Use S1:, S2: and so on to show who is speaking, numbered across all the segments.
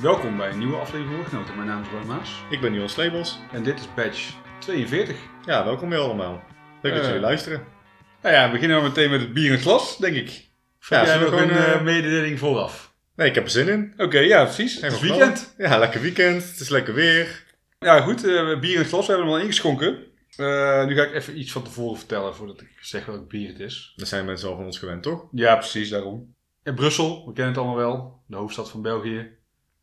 S1: Welkom bij een nieuwe aflevering Hoorgenoten. Mijn naam is Roy Maas
S2: Ik ben Jon Slebels.
S1: en dit is badge 42.
S2: Ja, welkom weer allemaal. Leuk dat
S1: Eh,
S2: jullie luisteren.
S1: Nou ja, we beginnen we meteen met het bier en glas, denk ik. Of
S2: Ja,
S1: heb jij nog
S2: zullen we
S1: een
S2: gewoon,
S1: eh,
S2: eh,
S1: mededeling vooraf?
S2: Nee, ik heb er zin in.
S1: Oké, ja, precies. Het
S2: En
S1: is
S2: gewoon
S1: weekend.
S2: knallen. Ja, lekker weekend. Het is lekker weer.
S1: Ja, goed. eh, bier en glas we hebben we al ingeschonken. Eh, nu ga ik even iets van tevoren vertellen voordat ik zeg welk bier het is.
S2: Dat zijn mensen al van ons gewend, toch?
S1: Ja, precies, daarom. In Brussel, we kennen het allemaal wel. De hoofdstad van België.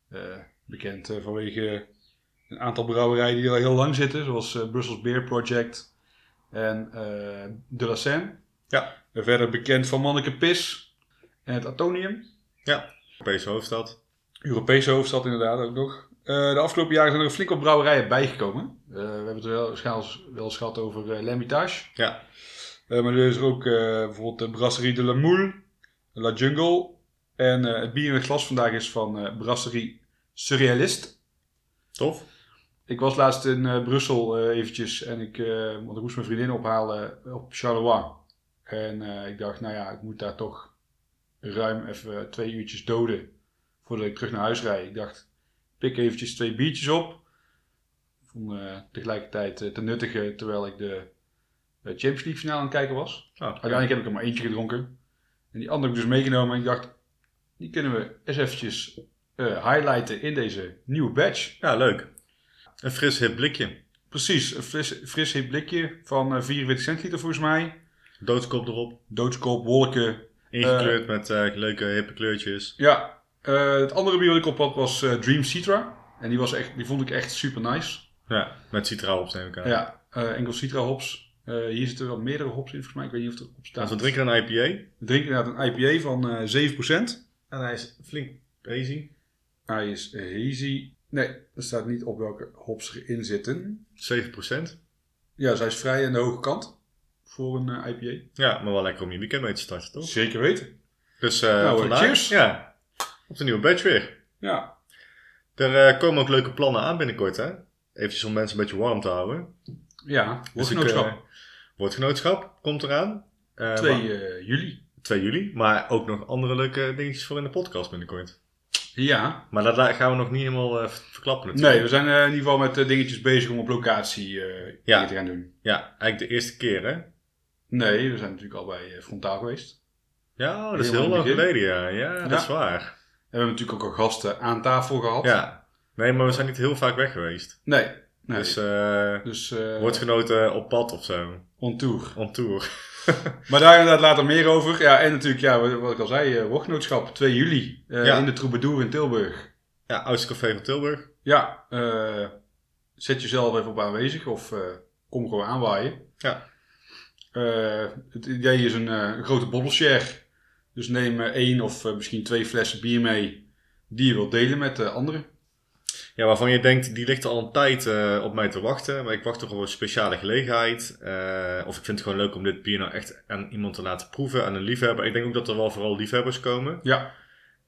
S1: Eh, bekend eh, vanwege een aantal brouwerijen die er al heel lang zitten. Zoals eh, Brussels Beer Project en eh, De La Seine.
S2: Ja.
S1: En verder bekend van Manneke Pis en het Atonium.
S2: Europese hoofdstad.
S1: Europese hoofdstad inderdaad ook nog. Eh, de afgelopen jaren zijn er flink wat brouwerijen bijgekomen. Eh, we hebben het wel, schaals- wel eens gehad over eh L'Hermitage.
S2: Ja.
S1: Eh, maar er is er ook eh, bijvoorbeeld de Brasserie de la Moule, La Jungle. En eh, het bier in het glas vandaag is van eh Brasserie Surrealist.
S2: Tof.
S1: Ik was laatst in eh, Brussel eh, eventjes en ik, eh, want ik moest mijn vriendin ophalen eh, op Charleroi. En eh, ik dacht, nou ja, ik moet daar toch ruim even twee uurtjes doden voordat ik terug naar huis rijd. Ik dacht, pik eventjes twee biertjes op. Om eh, tegelijkertijd eh, te nuttigen terwijl ik de eh, Champions League finale aan het kijken was.
S2: Ah,
S1: Uiteindelijk heb ik er maar eentje gedronken. En die andere heb ik dus meegenomen. En ik dacht, die kunnen we eens eventjes eh, highlighten in deze nieuwe badge.
S2: Ja, leuk. Een fris hip blikje.
S1: Precies, een fris, fris hip blikje van eh, 44 centiliter volgens mij.
S2: Doodskop erop.
S1: Doodskoop, wolken.
S2: Ingekleurd met eh, leuke hippe kleurtjes.
S1: Ja, eh, het andere bier wat ik op had was eh, Dream Citra. En die, was echt, die vond ik echt super nice.
S2: Ja, met citra op, neem ik aan.
S1: Ja, eh, enkel Citra hops. Eh, hier zitten wel meerdere hops in volgens mij. Ik weet niet of er op
S2: Want
S1: staat.
S2: we drinken een IPA.
S1: We drinken inderdaad een IPA van eh 7%.
S2: En hij is flink hazy.
S1: Hij is hazy. Nee, er staat niet op welke hops erin zitten.
S2: 7%.
S1: Ja, zij is vrij aan de hoge kant voor een eh, IPA.
S2: Ja, maar wel lekker om je weekend mee te starten, toch?
S1: Zeker weten.
S2: Dus eh
S1: Nou, eh,
S2: vandaag,
S1: cheers.
S2: Ja, op de nieuwe badge weer.
S1: Ja,
S2: Er eh, komen ook leuke plannen aan binnenkort, hè? Eventjes om mensen een beetje warm te houden.
S1: ja.
S2: Dus ik,
S1: Woordgenootschap.
S2: eh, woordgenootschap komt eraan. Eh, maar-
S1: 2 eh, juli.
S2: 2 juli. Maar ook nog andere leuke dingetjes voor in de podcast binnenkort.
S1: Ja.
S2: Maar dat la- gaan we nog niet helemaal eh, ver- verklappen natuurlijk.
S1: Nee, we zijn eh, in ieder geval met eh, dingetjes bezig om op locatie eh
S2: Ja.
S1: dingen te gaan doen.
S2: Ja, eigenlijk de eerste keer, hè?
S1: Nee, we zijn natuurlijk al bij eh, Frontaal geweest.
S2: Ja, oh, dat is
S1: Helemaal
S2: heel
S1: in het
S2: lang
S1: begin.
S2: geleden, ja. ja.
S1: Ja.
S2: dat is waar.
S1: En we hebben natuurlijk ook al gasten aan tafel gehad.
S2: Ja. Nee, maar we zijn niet heel vaak weg geweest.
S1: Nee. nee.
S2: Dus
S1: Dus,
S2: eh
S1: eh,
S2: woordgenoten op pad of zo.
S1: on tour.
S2: On tour.
S1: Maar daar inderdaad later meer over. Ja, en natuurlijk, ja, wat ik al zei, eh woordgenootschap 2 juli eh,
S2: Ja.
S1: in de Troubadour in Tilburg.
S2: Ja, Oudste Café van Tilburg.
S1: Ja, eh, zet jezelf even op aanwezig of eh, kom gewoon aanwaaien.
S2: Ja.
S1: Eh, het idee is een, eh, een grote bottleshare. Dus neem eh, één of eh, misschien twee flessen bier mee die je wilt delen met de anderen.
S2: Ja, waarvan je denkt, die ligt al een tijd eh, op mij te wachten. Maar ik wacht toch op een speciale gelegenheid. Eh, of ik vind het gewoon leuk om dit bier nou echt aan iemand te laten proeven. Aan een liefhebber. Ik denk ook dat er wel vooral liefhebbers komen.
S1: Ja,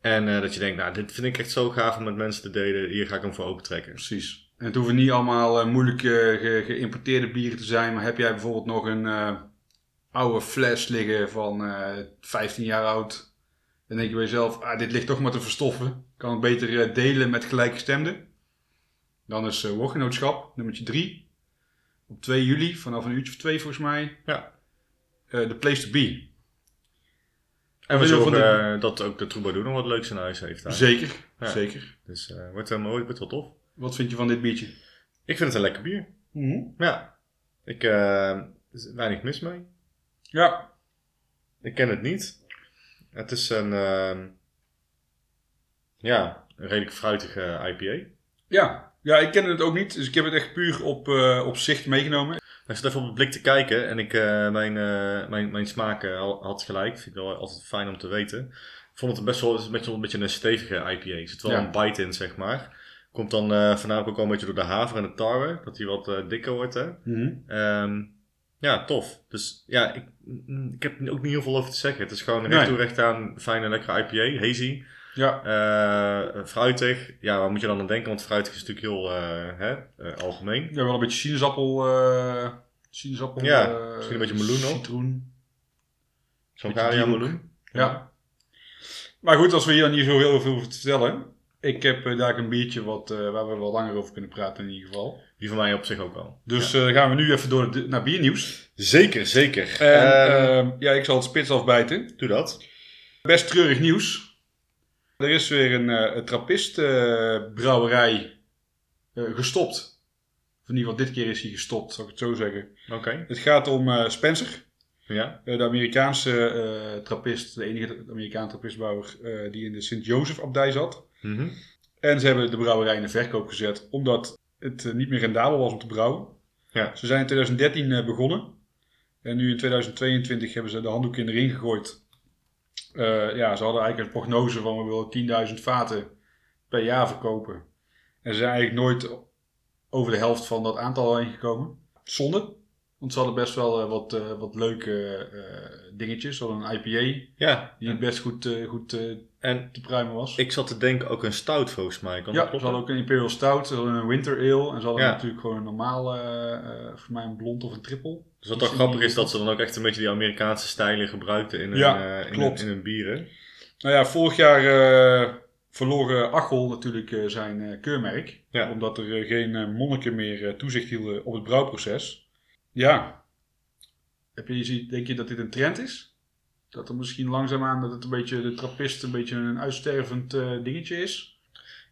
S2: En eh, dat je denkt, nou, dit vind ik echt zo gaaf om met mensen te delen. Hier ga ik hem voor opentrekken.
S1: precies. En het hoeven niet allemaal eh, moeilijk eh, ge- geïmporteerde bieren te zijn. Maar heb jij bijvoorbeeld nog een eh, oude fles liggen van eh, 15 jaar oud. Dan denk je bij jezelf, ah, dit ligt toch maar te verstoffen. Kan het beter eh, delen met gelijkgestemden. Dan is eh woordgenootschap, nummertje 3. Op 2 juli, vanaf een uurtje of twee volgens mij.
S2: Ja.
S1: Eh, De place to be.
S2: En we
S1: Wil je
S2: zorgen
S1: van
S2: eh, dat ook de troubadour nog wat leuks in huis heeft. daar.
S1: Zeker,
S2: Ja.
S1: zeker.
S2: Dus eh, wordt, hem mooi, wordt wel tof.
S1: Wat vind je van dit biertje?
S2: Ik vind het een lekker bier. Ja. Ik, eh, er is weinig mis mee.
S1: Ja,
S2: Ik ken het niet. Het is een, ehm, ja, een redelijk fruitige eh, IPA.
S1: ja. Ja, ik ken het ook niet, dus ik heb het echt puur op, eh, op zicht meegenomen.
S2: Ik zat even op het blik te kijken en ik, eh, mijn, eh, mijn, mijn smaak eh, al- had gelijk. Vind ik wel altijd fijn om te weten. Ik vond het best wel het is een beetje, een beetje een stevige IPA. Er zit wel
S1: Ja.
S2: een bite in, zeg maar. Komt dan eh vanavond ook al een beetje door de haver en de tarwe. Dat die wat eh, dikker wordt, hè. Ehm, ja, tof. Dus ja, ik, mm, ik heb er ook niet heel veel over te zeggen. Het is gewoon recht
S1: Nee.
S2: toe recht aan fijne, lekkere IPA. Hazy.
S1: Ja,
S2: Eh, fruitig, ja, waar moet je dan aan denken? Want fruitig is natuurlijk heel eh, hè, eh, algemeen.
S1: ja, wel een beetje sinaasappel. eh, sinaasappel.
S2: Ja,
S1: eh,
S2: misschien een beetje meloen ook.
S1: Citroen.
S2: Zo'n
S1: Beetje
S2: garia
S1: driehoek.
S2: meloen.
S1: Ja. Maar goed, als we hier dan niet zo heel veel over te vertellen. Ik heb eh, daar een biertje wat, eh, waar we wel langer over kunnen praten in ieder geval.
S2: Die van mij op zich ook al.
S1: Dus eh, gaan we nu even door de- naar biernieuws.
S2: Zeker, zeker.
S1: En,
S2: Eh,
S1: ehm, ja, ik zal het spits afbijten.
S2: doe dat.
S1: Best treurig nieuws. Er is weer een, eh, een trappistenbrouwerij eh, gestopt. Of in ieder geval dit keer is hij gestopt, zal ik het zo zeggen.
S2: Oké.
S1: Het gaat om eh, Spencer.
S2: Ja.
S1: Eh, de Amerikaanse eh trappist, de enige Amerikaan trappistbouwer eh, die in de Sint-Jozef-abdij zat.
S2: Mhm.
S1: En ze hebben de brouwerij in de verkoop gezet, omdat het eh, niet meer rendabel was om te brouwen.
S2: Ja.
S1: Ze zijn in 2013 eh, begonnen. En nu in 2022 hebben ze de handdoek in de ring gegooid. Eh, ja, ze hadden eigenlijk een prognose van we willen 10.000 vaten per jaar verkopen. En ze zijn eigenlijk nooit over de helft van dat aantal heen gekomen. Zonde. Want ze hadden best wel eh, wat, eh, wat leuke eh, dingetjes. Ze hadden een IPA
S2: Ja.
S1: die best goed, eh, goed eh,
S2: En
S1: te pruimen was.
S2: ik zat te denken ook een stout volgens mij.
S1: Ja,
S2: Kan dat
S1: ze
S2: kloppen?
S1: hadden ook een Imperial Stout, ze hadden een Winter Ale en ze hadden
S2: Ja.
S1: natuurlijk gewoon een normaal, eh, eh, voor mij een blond of een triple.
S2: Dus wat dan
S1: Iets in
S2: grappig
S1: die
S2: is dat ze dan ook echt een beetje die Amerikaanse stijlen gebruikten in hun,
S1: Ja,
S2: eh, in hun,
S1: klopt.
S2: in hun bieren.
S1: Nou ja, vorig jaar eh verloren Achel natuurlijk eh, zijn eh, keurmerk.
S2: Ja.
S1: Omdat er eh, geen eh, monniken meer eh, toezicht hielden op het brouwproces. Ja. Heb je, zie- denk je dat dit een trend is? Dat er misschien langzaamaan dat het een beetje de trappist een beetje een uitstervend eh, dingetje is?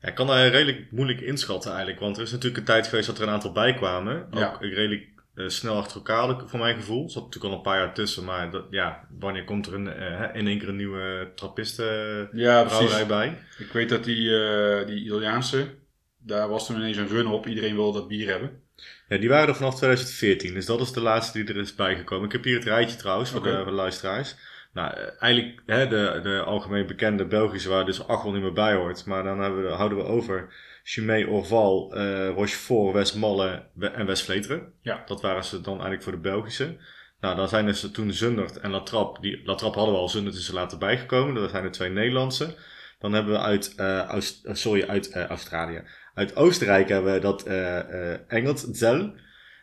S2: Ja, ik kan daar redelijk moeilijk inschatten eigenlijk. Want er is natuurlijk een tijd geweest dat er een aantal bij kwamen.
S1: Ja.
S2: Ook redelijk eh, snel achter elkaar, voor mijn gevoel. Er zat natuurlijk al een paar jaar tussen. Maar dat, ja, wanneer komt er een, eh, hè, in één keer een nieuwe trappistenbrouwerij
S1: Ja,
S2: bij?
S1: Ik weet dat die, eh, die Italiaanse, daar was toen ineens een run op. Iedereen wilde dat bier hebben.
S2: Ja, die waren er vanaf 2014. Dus dat is de laatste die er is bijgekomen. Ik heb hier het rijtje trouwens voor,
S1: Oké.
S2: de, voor de luisteraars. Nou, eh, eigenlijk hè, de, de algemeen bekende Belgische waar dus Achel niet meer bij hoort. Maar dan hebben we, houden we over Chimay Orval, eh Rochefort, Westmalle We- en Westvleteren.
S1: Ja.
S2: Dat waren ze dan eigenlijk voor de Belgische. Nou, dan zijn dus toen Zundert en Latrap. Die, Latrap hadden we al, Zundert is er later bijgekomen. Dat zijn de twee Nederlandse. Dan hebben we uit, eh, Aus- eh, sorry, uit eh, Australië. Uit Oostenrijk hebben we dat eh eh Engels, Zell.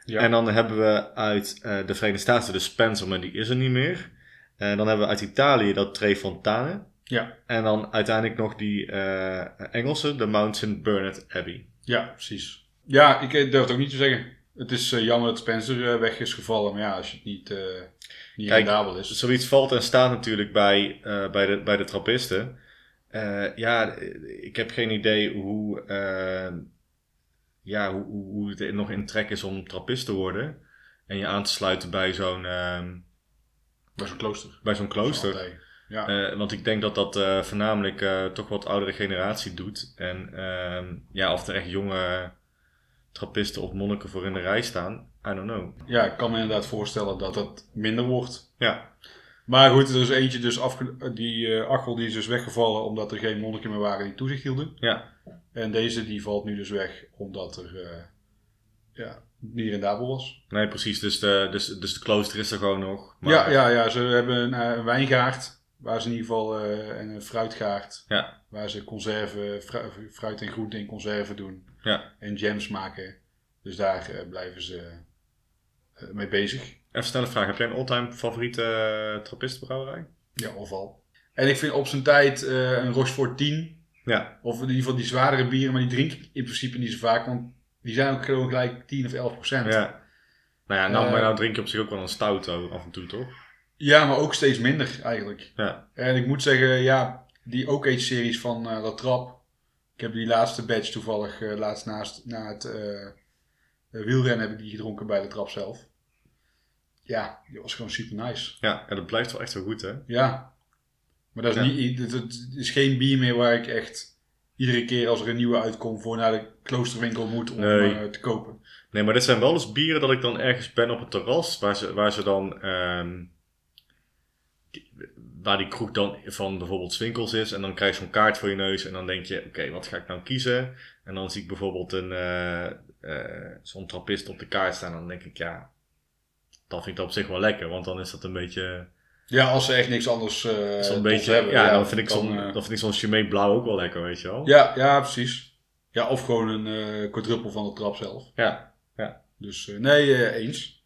S1: Ja.
S2: En dan hebben we uit eh, de Verenigde Staten de Spencer, maar die is er niet meer. En dan hebben we uit Italië dat Tre Fontane.
S1: Ja.
S2: En dan uiteindelijk nog die eh, Engelse, de Mount St. Bernard Abbey.
S1: Ja, precies. Ja, ik eh, durf het ook niet te zeggen. Het is eh, jammer dat Spencer eh, weg is gevallen, maar ja, als je het niet, eh niet
S2: Kijk,
S1: rendabel is.
S2: Dus zoiets valt en staat natuurlijk bij, eh, bij, de, bij de trappisten. Eh, ja, ik heb geen idee hoe, eh, ja, hoe, hoe hoe het nog in trek is om trappist te worden. En je aan te sluiten bij zo'n eh,
S1: bij zo'n klooster.
S2: bij zo'n klooster.
S1: Zo'n abdij. Ja.
S2: Eh, want ik denk dat dat eh, voornamelijk eh, toch wat oudere generatie doet. En ehm, ja, of er echt jonge trappisten of monniken voor in de rij staan, I don't know.
S1: ja, ik kan me inderdaad voorstellen dat dat minder wordt.
S2: Ja,
S1: Maar goed, er is eentje dus afge- die eh, Achel die is dus weggevallen omdat er geen monniken meer waren die toezicht hielden.
S2: ja.
S1: En deze die valt nu dus weg omdat er eh, ja, niet rendabel was.
S2: Nee, precies. Dus de, dus, dus de klooster is er gewoon nog. Maar,
S1: Ja, ja, ja, ze hebben een, eh, een wijngaard waar ze in ieder geval eh, en een fruitgaard
S2: Ja,
S1: Waar ze conserven, fru- fruit en groente in conserven doen
S2: ja.
S1: en jams maken. Dus daar eh, blijven ze eh, mee bezig.
S2: Even snelle vraag. Heb jij een all-time favoriete eh, trappistenbrouwerij?
S1: Ja, of al. En ik vind op zijn tijd eh, een Rochefort 10,
S2: Ja,
S1: of in ieder geval die zwaardere bieren, maar die drink ik in principe niet zo vaak, want die zijn ook gewoon gelijk 10 of 11 procent.
S2: ja. Nou ja, nou,
S1: Eh.
S2: maar nou drink je op zich ook wel een stout oh, af en toe, toch?
S1: Ja, maar ook steeds minder eigenlijk.
S2: Ja.
S1: En ik moet zeggen, ja, die ook age series van eh La Trap. Ik heb die laatste batch toevallig, eh, laatst naast, na het eh, eh, wielrennen heb ik die gedronken bij de trap zelf. Ja, die was gewoon super nice.
S2: Ja, ja, dat blijft wel echt wel goed, hè?
S1: Ja. Maar dat is,
S2: Ja.
S1: niet, dat, dat is geen bier meer waar ik echt iedere keer als er een nieuwe uitkomt voor naar de kloosterwinkel moet om
S2: Nee.
S1: eh, te kopen.
S2: Nee, maar dit zijn wel eens bieren dat ik dan ergens ben op het terras, waar ze, waar ze dan. ehm, die- waar die kroeg dan van bijvoorbeeld Swinkels is. En dan krijg je zo'n kaart voor je neus. En dan denk je, oké, wat ga ik nou kiezen? En dan zie ik bijvoorbeeld een, eh, eh, zo'n trappist op de kaart staan. En dan denk ik, ja, dat vind ik dan op zich wel lekker. Want dan is dat een beetje.
S1: Ja, als ze echt niks anders eh
S2: zo'n
S1: tof
S2: beetje
S1: hebben.
S2: ja, dan vind ik
S1: dan,
S2: zo'n
S1: eh,
S2: dan vind ik zo'n Chimay Blauw ook wel lekker, weet je wel?
S1: ja, ja, precies. Ja, of gewoon een eh quadruppel van de trap zelf.
S2: ja.
S1: Dus eh, nee, eh, eens.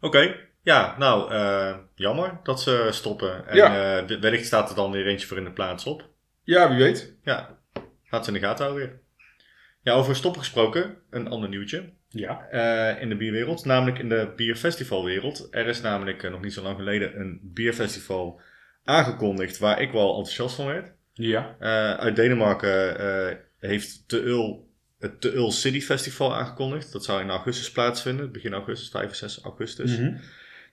S2: Oké. Ja, nou, eh, jammer dat ze stoppen. En
S1: Ja.
S2: eh, wellicht staat er dan weer eentje voor in de plaats op.
S1: Ja, wie weet.
S2: Ja, gaat ze in de gaten houden weer. Ja, over stoppen gesproken, een ander nieuwtje.
S1: Ja.
S2: eh, in de bierwereld, namelijk in de bierfestivalwereld. Er is namelijk eh, nog niet zo lang geleden een bierfestival aangekondigd waar ik wel enthousiast van werd.
S1: Ja.
S2: Eh, uit Denemarken eh, heeft de Ul het de Ul City Festival aangekondigd. Dat zou in augustus plaatsvinden, begin augustus, 5 en 6 augustus.
S1: Mhm.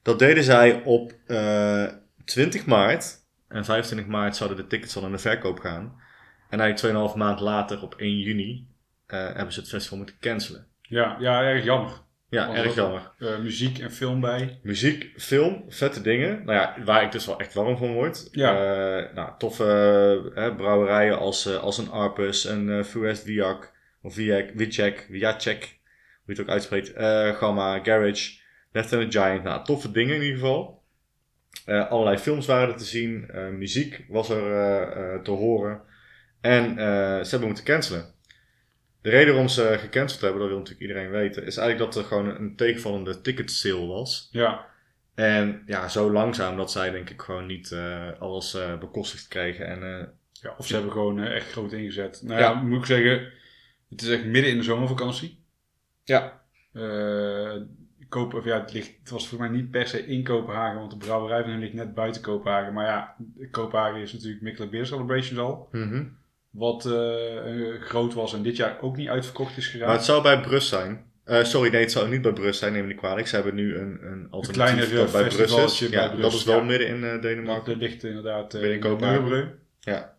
S2: Dat deden zij op eh, 20 maart. En 25 maart zouden de tickets al in de verkoop gaan. En eigenlijk 2,5 maand later, op 1 juni, eh, hebben ze het festival moeten cancelen.
S1: ja. Ja, erg jammer.
S2: Ja,
S1: Was
S2: erg
S1: dat-
S2: jammer.
S1: Eh, muziek en film bij.
S2: Muziek, film, vette dingen. Nou ja, waar ik dus wel echt warm van word.
S1: Ja.
S2: Eh, nou, toffe eh, brouwerijen als, eh, als een Arpus, een eh Fuest Viac, of Viac, Viacek, Viacek, hoe je het ook uitspreekt, eh, Gamma, Garage, Left and the Giant. Nou, toffe dingen in ieder geval. Eh, allerlei films waren er te zien, eh, muziek was er eh, eh, te horen. En eh, ze hebben moeten cancelen. De reden waarom ze gecanceld hebben, dat wil natuurlijk iedereen weten, is eigenlijk dat er gewoon een tegenvallende ticket sale was.
S1: Ja.
S2: En ja, zo langzaam dat zij denk ik gewoon niet eh, alles eh, bekostigd kregen. En eh,
S1: ja. Of ze hebben gewoon eh, echt groot ingezet. Nou ja.
S2: Ja.
S1: moet ik zeggen, het is echt midden in de zomervakantie.
S2: ja.
S1: Eh kopen, of ja, het, ligt, het was voor mij niet per se in Kopenhagen, want de brouwerij van hen ligt net buiten Kopenhagen. Maar ja, Kopenhagen is natuurlijk Mikkeler Beer Celebrations al. Wat eh, eh, groot was en dit jaar ook niet uitverkocht is
S2: Maar het
S1: geraakt.
S2: zou bij Brus zijn. Eh, sorry, nee, het zou niet bij Brus zijn, neem me niet kwalijk. Ze hebben nu een, een alternatief
S1: kleiner,
S2: dat bij Brus is.
S1: festivaltje bij
S2: Ja,
S1: Brus,
S2: dat is wel
S1: ja.
S2: midden in eh,
S1: Maar
S2: Denemarken.
S1: er ligt inderdaad eh
S2: Binnen
S1: in
S2: Kopenhagen.
S1: Nürburgring.
S2: Ja.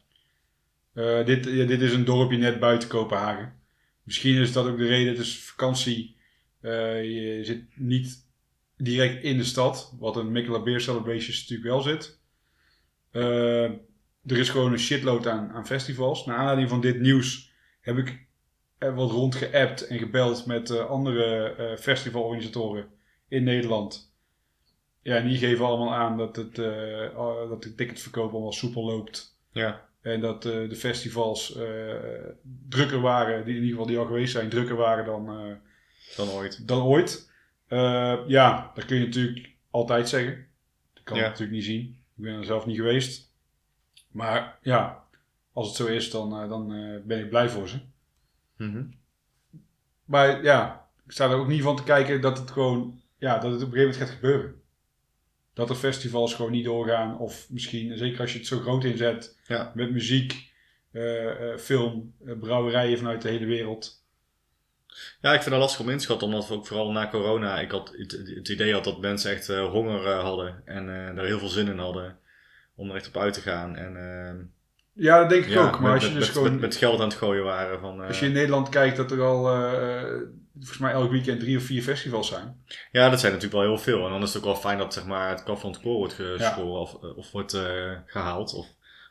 S1: Eh, dit, ja, dit is een dorpje net buiten Kopenhagen. Misschien is dat ook de reden. Het is vakantie. Eh, je zit niet direct in de stad. Wat een Mikkela Beer Celebrations natuurlijk wel zit. Eh, er is gewoon een shitload aan, aan festivals. Naar aanleiding van dit nieuws heb ik eh, wat rondgeappt en gebeld met eh, andere eh, festivalorganisatoren in Nederland. Ja, en die geven allemaal aan dat, het, eh, ah, dat de ticketverkoop allemaal soepel loopt.
S2: Ja.
S1: En dat eh, de festivals eh, drukker waren, die in ieder geval die al geweest zijn, drukker waren dan, eh,
S2: dan ooit.
S1: dan ooit. Eh, ja, dat kun je natuurlijk altijd zeggen. Dat kan ik
S2: Ja.
S1: natuurlijk niet zien. Ik ben er zelf niet geweest. Maar ja, als het zo is, dan, eh, dan eh, ben ik blij voor ze.
S2: Mhm.
S1: Maar ja, ik sta er ook niet van te kijken dat het gewoon, ja, dat het op een gegeven moment gaat gebeuren. Dat er festivals gewoon niet doorgaan. Of misschien, zeker als je het zo groot inzet,
S2: Ja.
S1: met muziek, eh, eh, film, eh, brouwerijen vanuit de hele wereld.
S2: Ja, ik vind dat lastig om in te schatten, omdat we ook vooral na corona ik had het, het idee had dat mensen echt eh, honger eh, hadden en eh, daar heel veel zin in hadden om er echt op uit te gaan. En ehm,
S1: Ja, dat denk ik
S2: ja,
S1: ook. Maar
S2: met,
S1: als je
S2: met-
S1: dus
S2: met-
S1: gewoon,
S2: met, met geld aan het gooien waren. Van, eh,
S1: als je in Nederland kijkt dat er al, eh, eh, volgens mij elk weekend drie of vier festivals zijn.
S2: Ja, dat zijn natuurlijk wel heel veel. En dan is het ook wel fijn dat zeg maar, het kaf van het koor wordt geschoren of, eh, of wordt eh, gehaald. Of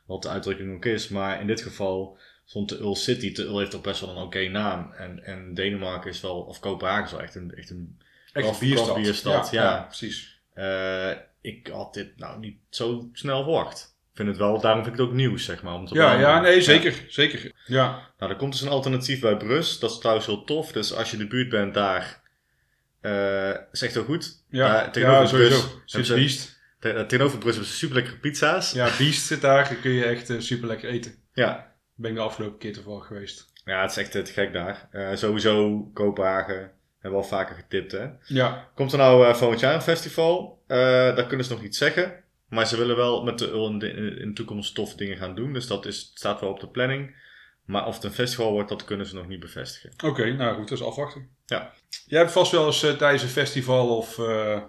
S2: wat de uitdrukking ook is. Maar in dit geval stond de Ul City. De Ul heeft toch best wel een oké naam. En, en Denemarken is wel, of Kopenhagen is wel echt een... Echt een
S1: Echt
S2: Craft-
S1: bierstad.
S2: craftbierstad,
S1: ja,
S2: ja.
S1: precies.
S2: eh, ik had dit nou niet zo snel verwacht. Ik vind het wel, daarom vind ik het ook nieuws, zeg maar. om te
S1: Ja, ja,
S2: veranderen.
S1: nee, zeker. Zeker. Ja,
S2: Nou, er komt dus een alternatief bij Brus. Dat is trouwens heel tof. Dus als je in de buurt bent daar, eh is echt heel goed.
S1: ja,
S2: Eh, tegenover
S1: ja sowieso.
S2: Brus hebben
S1: Sinds
S2: ze-
S1: Biest.
S2: Te- eh, Tegenover Brus hebben ze super lekkere pizza's. Ja.
S1: Ja, Biest zit daar. Dan kun je echt eh, super lekker eten.
S2: Ja.
S1: Ben ik de afgelopen keer toevallig geweest.
S2: het is echt eh, te gek daar. Eh, sowieso Kopenhagen. Hebben we al vaker getipt, hè.
S1: Ja,
S2: Komt er nou eh volgend jaar een festival? Eh, daar kunnen ze nog niet zeggen. Maar ze willen wel met de Ul in de, in de toekomst tof dingen gaan doen. Dus dat is, staat wel op de planning. Maar of het een festival wordt, dat kunnen ze nog niet bevestigen.
S1: oké. nou goed, dat is afwachten.
S2: Ja.
S1: Jij hebt vast wel eens eh, tijdens een festival of eh, eh,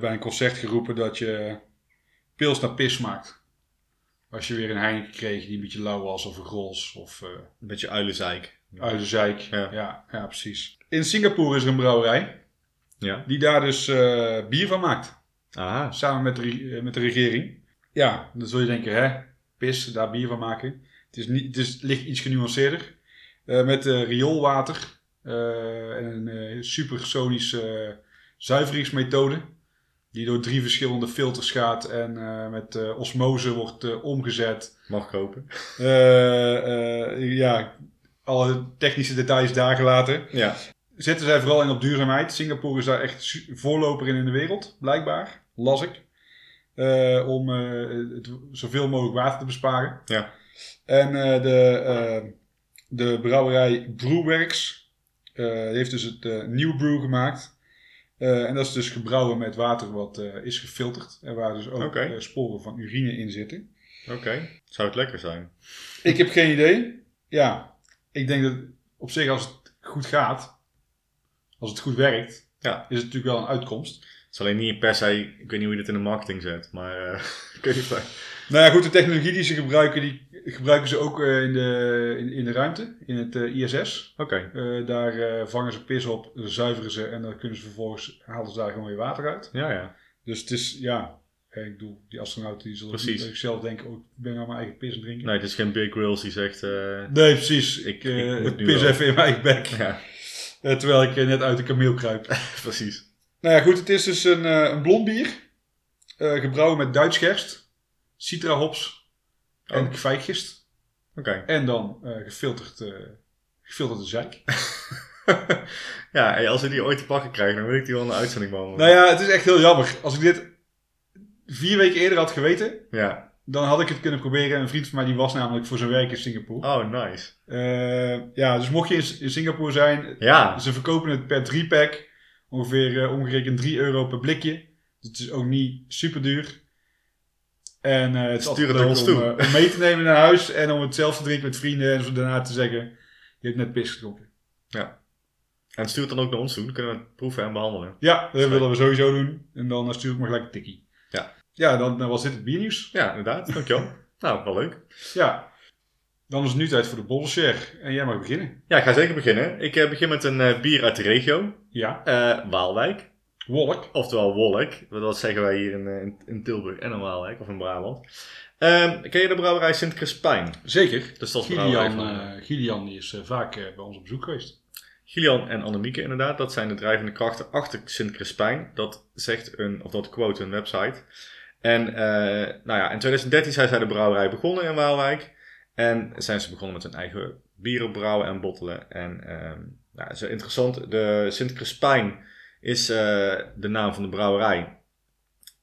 S1: bij een concert geroepen dat je pils naar pis maakt. Als je weer een Heineken kreeg die een beetje lauw was of een Grols of eh
S2: Een beetje uilenzeik.
S1: Uilenzeik.
S2: Ja.
S1: Ja, ja, precies. In Singapore is er een brouwerij
S2: Ja.
S1: die daar dus eh, bier van maakt.
S2: Aha.
S1: samen met de, re- eh, met de regering. Ja, dan zul je denken, hè, pis, daar bier van maken. Het, is niet, het is, ligt iets genuanceerder. Eh, met eh, rioolwater eh, en een eh, supersonische eh, zuiveringsmethode. Die door drie verschillende filters gaat en eh, met eh, osmose wordt eh, omgezet.
S2: Mag kopen.
S1: Eh, eh, ja, alle technische details daar gelaten.
S2: Ja.
S1: Zetten zij vooral in op duurzaamheid. Singapore is daar echt su- voorloper in in de wereld, blijkbaar. Las ik. Eh, om eh, het, zoveel mogelijk water te besparen.
S2: Ja.
S1: En eh, de, eh, de brouwerij Brewworks eh, die heeft dus het eh New Brew gemaakt. Eh, en dat is dus gebrouwen met water wat eh, is gefilterd. En waar dus ook
S2: Oké.
S1: eh, sporen van urine in zitten.
S2: Oké. Zou het lekker zijn?
S1: Ik heb geen idee. Ja, ik denk dat op zich als het goed gaat, als het goed werkt,
S2: Ja.
S1: is het natuurlijk wel een uitkomst.
S2: Het is alleen niet per se, ik weet niet hoe je dit in de marketing zet, maar eh, ik weet niet. waar-
S1: Nou ja, goed, de technologie die ze gebruiken, die gebruiken ze ook eh, in, de, in, in de ruimte, in het eh, ISS.
S2: Oké,
S1: Eh, daar eh, vangen ze pis op, zuiveren ze en dan kunnen ze vervolgens, halen ze daar gewoon weer water uit.
S2: ja, ja.
S1: Dus het is, ja, eh, ik bedoel, die astronauten die zullen ook
S2: Precies.
S1: niet eh, zelf denken, oh, ik ben nou mijn eigen pis aan het drinken.
S2: Nee, het is geen Big Grills die zegt, eh,
S1: Nee, precies. Ik,
S2: Ik-
S1: eh,
S2: ik moet nu
S1: pis
S2: wel.
S1: even in mijn eigen bek.
S2: ja,
S1: Eh, terwijl ik eh, net uit de kameel kruip.
S2: precies.
S1: Nou ja, goed, het is dus een, eh, een blond bier. Eh, gebrouwen met Duits gerst, citra hops en
S2: Oh.
S1: kwijtgist.
S2: Oké.
S1: En dan eh, gefilterd, eh, gefilterde zijk.
S2: ja, hey, als we die ooit te pakken krijgen, dan wil ik die wel in de uitzending behandelen.
S1: nou ja, het is echt heel jammer. Als ik dit vier weken eerder had geweten,
S2: ja.
S1: dan had ik het kunnen proberen. Een vriend van mij die was namelijk voor zijn werk in Singapore.
S2: Oh, nice.
S1: Eh, ja, dus mocht je in, in Singapore zijn,
S2: Ja,
S1: ze verkopen het per 3-pack. Ongeveer eh, omgerekend 3 euro per blikje. Dus het is ook niet super duur. En eh, het is altijd
S2: Stuur het
S1: leuk
S2: naar
S1: om,
S2: ons toe.
S1: eh, om mee te nemen naar huis en om het zelf te drinken met vrienden en zo daarna te zeggen: Je hebt net pis gedronken.
S2: en stuur het dan ook naar ons toe, dan kunnen we het proeven en behandelen.
S1: Ja, dat
S2: Sorry.
S1: willen we sowieso doen. En dan eh, stuur ik maar gelijk een tikkie.
S2: Ja.
S1: Ja, dan eh, was dit het biernieuws.
S2: Ja, inderdaad, dankjewel. nou, wel leuk.
S1: Ja. Dan is het nu tijd voor de bolshare. En jij mag beginnen.
S2: Ja, ik ga zeker beginnen. Ik eh, begin met een eh, bier uit de regio,
S1: Ja.
S2: eh, Waalwijk.
S1: Wolk.
S2: Oftewel Wolk. Dat zeggen wij hier in, eh, in, in Tilburg en in Waalwijk of in Brabant. Ehm, ken je de brouwerij Sint Crispijn?
S1: Zeker.
S2: Dus dat is de brouwerij
S1: Gilian,
S2: van eh,
S1: eh, Gilian die is eh, vaak eh, bij ons op bezoek geweest.
S2: Gillian en Annemieke inderdaad. Dat zijn de drijvende krachten achter Sint Crispijn. Dat zegt een, of dat quote hun website. En eh, nou ja, in 2013 zijn zij de brouwerij begonnen in Waalwijk. En zijn ze begonnen met hun eigen bieren brouwen en bottelen. En ehm nou, zo interessant. De Sint Crispijn is eh, de naam van de brouwerij.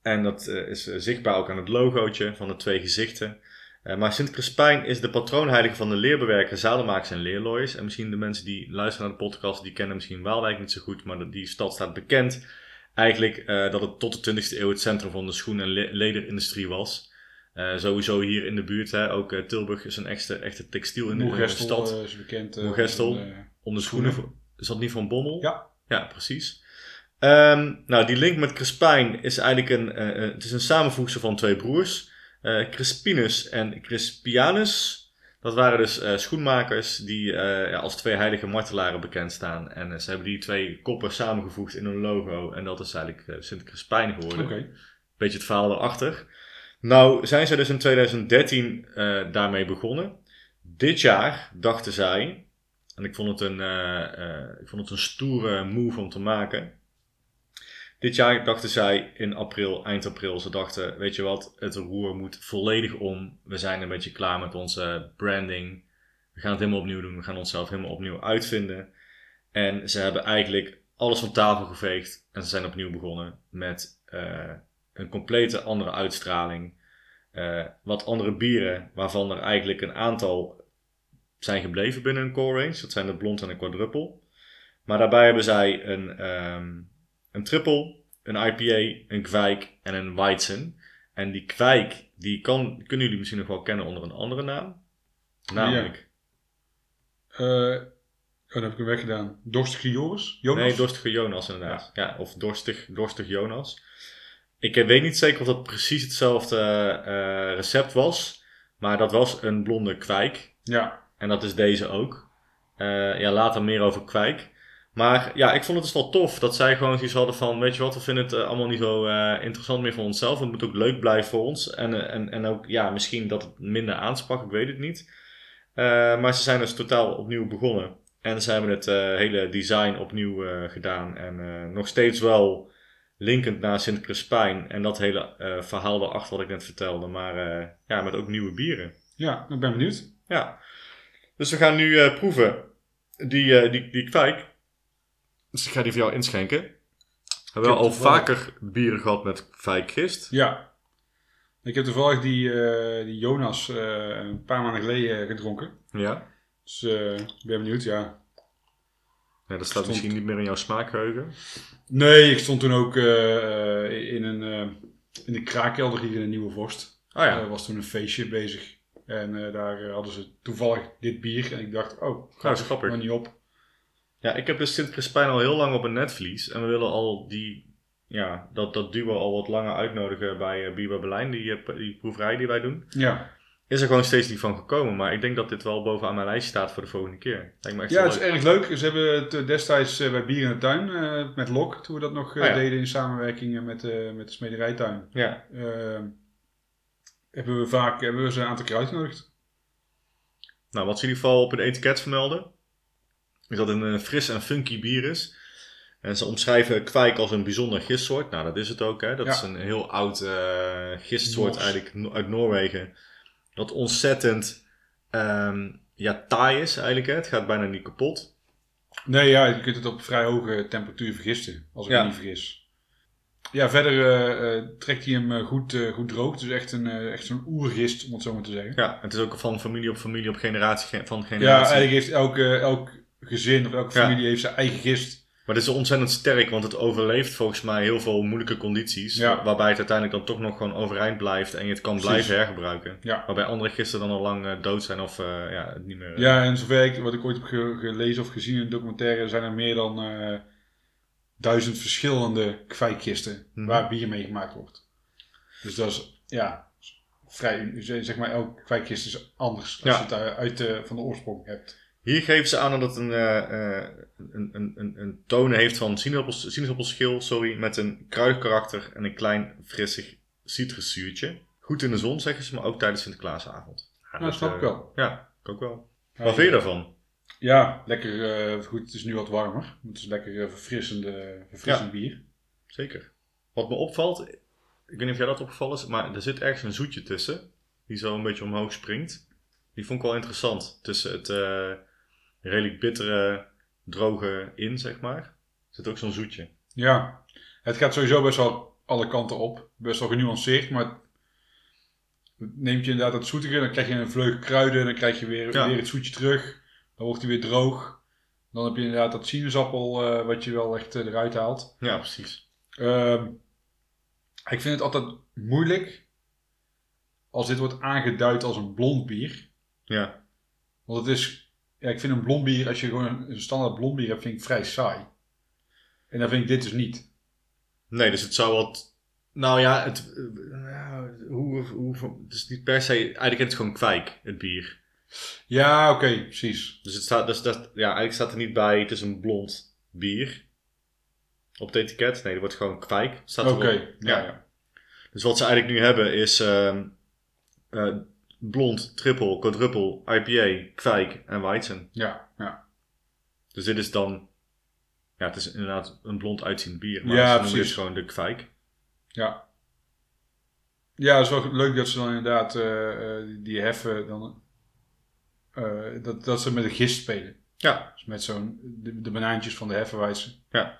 S2: En dat eh, is eh, zichtbaar ook aan het logootje van de twee gezichten. Eh, maar Sint Crispijn is de patroonheilige van de leerbewerker, zadelmakers en leerlooiers. En misschien de mensen die luisteren naar de podcast, die kennen misschien Waalwijk niet zo goed, maar dat- die stad staat bekend. Eigenlijk eh, dat het tot de 20e eeuw het centrum van de schoen- en le- lederindustrie was. Eh, sowieso hier in de buurt, hè, ook eh, Tilburg is een echte, echte textielindustrie eh,
S1: Moergestel
S2: stad.
S1: eh, is bekend. eh,
S2: Moergestel.
S1: en, eh,
S2: Om de schoenen. voor- Is dat niet van Bommel?
S1: Ja.
S2: Ja, precies. Ehm, nou, die link met Crispijn is eigenlijk een, eh, eh, het is een samenvoegsel van twee broers. Eh, Crispinus en Crispianus. Dat waren dus eh, schoenmakers die eh, ja, als twee heilige martelaren bekend staan. En eh, ze hebben die twee koppen samengevoegd in hun logo. En dat is eigenlijk eh, Sint Crispijn geworden
S1: Oké.
S2: beetje het verhaal erachter. Nou, zijn zij dus in 2013 eh, daarmee begonnen. Dit jaar dachten zij, en ik vond, het een, eh, eh, ik vond het een stoere move om te maken. Dit jaar dachten zij in april, eind april, ze dachten: Weet je wat, het roer moet volledig om. We zijn een beetje klaar met onze branding. We gaan het helemaal opnieuw doen. We gaan onszelf helemaal opnieuw uitvinden. En ze hebben eigenlijk alles van tafel geveegd. En ze zijn opnieuw begonnen met eh, een complete andere uitstraling. eh, wat andere bieren, waarvan er eigenlijk een aantal zijn gebleven binnen een core range. Dat zijn de blond en een quadruple. Maar daarbij hebben zij een, ehm, een triple, een IPA, een kwijk en een weizen. En die kwijk, die kan, kunnen jullie misschien nog wel kennen onder een andere naam. Namelijk,
S1: Eh, oh, dan heb ik hem weggedaan. Dorstige Joris? Jonas?
S2: nee, Dorstige Jonas inderdaad. Ja, of Dorstig, Dorstig Jonas. Ik eh, weet niet zeker of dat precies hetzelfde eh, recept was. Maar dat was een blonde kwijk.
S1: Ja.
S2: En dat is deze ook. Eh, ja, later meer over kwijt. Maar ja, ik vond het dus wel tof dat zij gewoon zoiets hadden van... weet je wat, we vinden het eh, allemaal niet zo eh, interessant meer voor onszelf. Het moet ook leuk blijven voor ons. En, eh, en, en ook, ja, misschien dat het minder aansprak, ik weet het niet. Eh, maar ze zijn dus totaal opnieuw begonnen. En ze hebben het eh, hele design opnieuw eh, gedaan. En eh, nog steeds wel linkend naar Sint Crispijn. En dat hele eh, verhaal daarachter wat ik net vertelde. Maar eh, ja, met ook nieuwe bieren.
S1: Ja, ik ben benieuwd.
S2: Ja. Dus we gaan nu eh, proeven die, eh, die, die kwijk. Dus ik ga die voor jou inschenken. We hebben
S1: heb
S2: al
S1: toevallig-
S2: vaker bieren gehad met kwijk gist.
S1: Ja. Ik heb toevallig die, eh, die Jonas eh, een paar maanden geleden gedronken.
S2: Ja?
S1: Dus eh, ik ben benieuwd, ja.
S2: ja dat staat misschien niet meer in jouw smaakgeheugen.
S1: Nee, ik stond toen ook eh, eh, in, een, eh, in de kraakkelder hier in de Nieuwe Vorst.
S2: Ah ja,
S1: Er was toen een feestje bezig. En eh, daar eh, hadden ze toevallig dit bier. En ik dacht, oh,
S2: Ja, dat Nou, is grappig.
S1: nog niet op.
S2: Ja, ik heb dus Sint Crispijn al heel lang op een netvlies. En we willen al die, ja, dat, dat duo al wat langer uitnodigen bij eh Biba Berlijn, die, eh, p- die proeverij die wij doen.
S1: Ja,
S2: Is er gewoon steeds niet van gekomen. Maar ik denk dat dit wel bovenaan mijn lijst staat voor de volgende keer. Lijkt me echt
S1: ja
S2: wel
S1: het is
S2: leuk.
S1: erg leuk. Ze hebben het eh, destijds eh, bij Bier in de Tuin eh, met Lok, toen we dat nog eh,
S2: Ah, ja.
S1: deden in samenwerking eh, met, eh, met de Smederijtuin.
S2: Ja,
S1: eh, hebben we vaak hebben we ze een aantal keer uitgenodigd.
S2: nou wat ze in ieder geval op het etiket vermelden. Is dat het een eh, fris en funky bier is. En ze omschrijven kwijk als een bijzonder gistsoort. Nou, dat is het ook. Hè? Dat
S1: Ja.
S2: is een heel oud eh, gistsoort
S1: Nors.
S2: eigenlijk no- uit Noorwegen. Dat ontzettend ehm, ja, taai is eigenlijk. Hè? Het gaat bijna niet kapot.
S1: Nee, ja, je kunt het op vrij hoge temperatuur vergisten, als ik
S2: Ja.
S1: me niet vergis. Ja, verder eh, eh, trekt hij hem eh, goed, eh, goed droog. Dus echt, een, eh, echt zo'n oergist, om het zo maar te zeggen.
S2: Ja, het is ook van familie op familie op generatie ge- van
S1: Ja,
S2: generatie.
S1: eigenlijk heeft elke, elk gezin of elke
S2: Ja.
S1: familie heeft zijn eigen gist.
S2: Maar het is ontzettend sterk, want het overleeft volgens mij heel veel moeilijke condities.
S1: Ja.
S2: Waarbij het uiteindelijk dan toch nog gewoon overeind blijft en je het kan
S1: Precies.
S2: blijven hergebruiken.
S1: Ja.
S2: Waarbij andere gisteren dan al lang eh, dood zijn of eh, ja, het niet meer.
S1: Ja, en zover ik, wat ik ooit heb ge- gelezen of gezien in een documentaire, zijn er meer dan eh, duizend verschillende kwijkgisten
S2: Mhm.
S1: waar bier mee gemaakt wordt. Dus dat is, ja, vrij, un- zeg maar, elk kwijkgist is anders als
S2: Ja.
S1: je het eh, uit de, van de oorsprong hebt.
S2: Hier geven ze aan dat het een, eh, eh, een, een, een, een tonen heeft van sinaasappels, sinaasappelschil sorry, met een kruidig karakter en een klein frissig citruszuurtje. Goed in de zon zeggen ze, maar ook tijdens Sinterklaasavond. Ja,
S1: Nou, dat snap
S2: eh,
S1: ik wel.
S2: Ja, ik ook wel. Wat vind je daarvan?
S1: Ja, lekker, eh, goed, het is nu wat warmer. Het is lekker eh, verfrissende, verfrissend bier.
S2: Zeker. Wat me opvalt, ik weet niet of jij dat opgevallen is, maar er zit ergens een zoetje tussen. Die zo een beetje omhoog springt. Die vond ik wel interessant. Tussen het eh, redelijk bittere, droge in, zeg maar. Zit ook zo'n zoetje.
S1: Ja, het gaat sowieso best wel alle kanten op. Best wel genuanceerd, maar het neemt je inderdaad dat zoetige, dan krijg je een vleug kruiden, dan krijg je weer,
S2: Ja.
S1: weer het zoetje terug. Dan wordt hij weer droog. Dan heb je inderdaad dat sinaasappel eh, wat je wel echt eh, eruit haalt.
S2: Ja, precies.
S1: Ehm, ik vind het altijd moeilijk als dit wordt aangeduid als een blond bier.
S2: Ja,
S1: Want het is, ja, ik vind een blond bier, als je gewoon een, een standaard blond bier hebt, vind ik vrij saai. En dan vind ik dit dus niet.
S2: nee, dus het zou wat. Nou ja, het, eh, hoe, hoe, het is niet per se. Eigenlijk is het gewoon kwijk, het bier.
S1: Ja, oké, precies.
S2: Dus het staat, dus dat, ja, eigenlijk staat er niet bij, het is een blond bier. Op het etiket. Nee, er wordt gewoon kwijk. Staat
S1: Oké,
S2: erop.
S1: ja,
S2: Ja.
S1: ja.
S2: Dus wat ze eigenlijk nu hebben is ehm, eh, blond, triple, quadruple, IPA, kwijk en weizen.
S1: Ja, ja.
S2: Dus dit is dan, ja, het is inderdaad een blond uitziend bier. Maar
S1: Ja,
S2: ze noemen dit
S1: precies.
S2: gewoon de kwijk.
S1: ja. Ja, het is wel leuk dat ze dan inderdaad eh, eh, die heffen, dan, eh, dat, dat ze met een gist spelen.
S2: Ja,
S1: Dus met zo'n, de, de banaantjes van de heffenwijzen.
S2: Ja.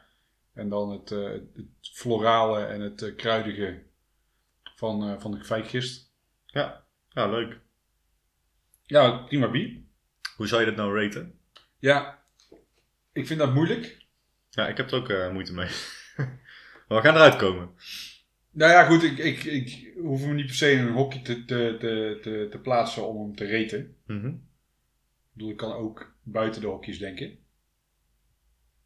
S1: En dan het, eh, het florale en het eh, kruidige van, eh, van de kwijkgist.
S2: ja, ja, leuk.
S1: Ja, prima bier.
S2: Hoe zou je dit nou raten?
S1: Ja, ik vind dat moeilijk.
S2: Ja, ik heb er ook eh, moeite mee. maar we gaan eruit komen.
S1: Nou ja, goed, ik, ik, ik hoef hem niet per se in een hokje te, te, te, te, te plaatsen om hem te reten.
S2: Mhm.
S1: Ik bedoel, ik kan ook buiten de hokjes denken.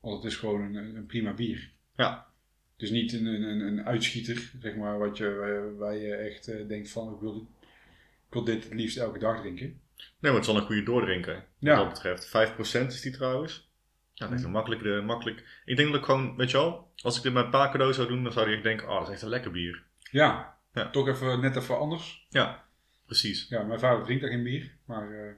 S1: Want het is gewoon een, een prima bier.
S2: Ja.
S1: Het is niet een, een, een- een uitschieter, zeg maar, wat je, eh, waar je echt eh, denkt van, ik wil, dit- ik wil dit het liefst elke dag drinken.
S2: Nee, maar het is wel een goede doordrinker. Wat
S1: Ja.
S2: dat betreft. 5% is die trouwens. Ja, dat is een makkelijk, eh, makkelijk. Ik denk dat ik gewoon, weet je wel, als ik dit met een paar cadeaus zou doen, dan zou ik echt denken, oh, dat is echt een lekker bier.
S1: Ja,
S2: Ja.
S1: toch even, net even anders.
S2: Ja, precies.
S1: Ja, mijn vader drinkt daar geen bier, maar eh,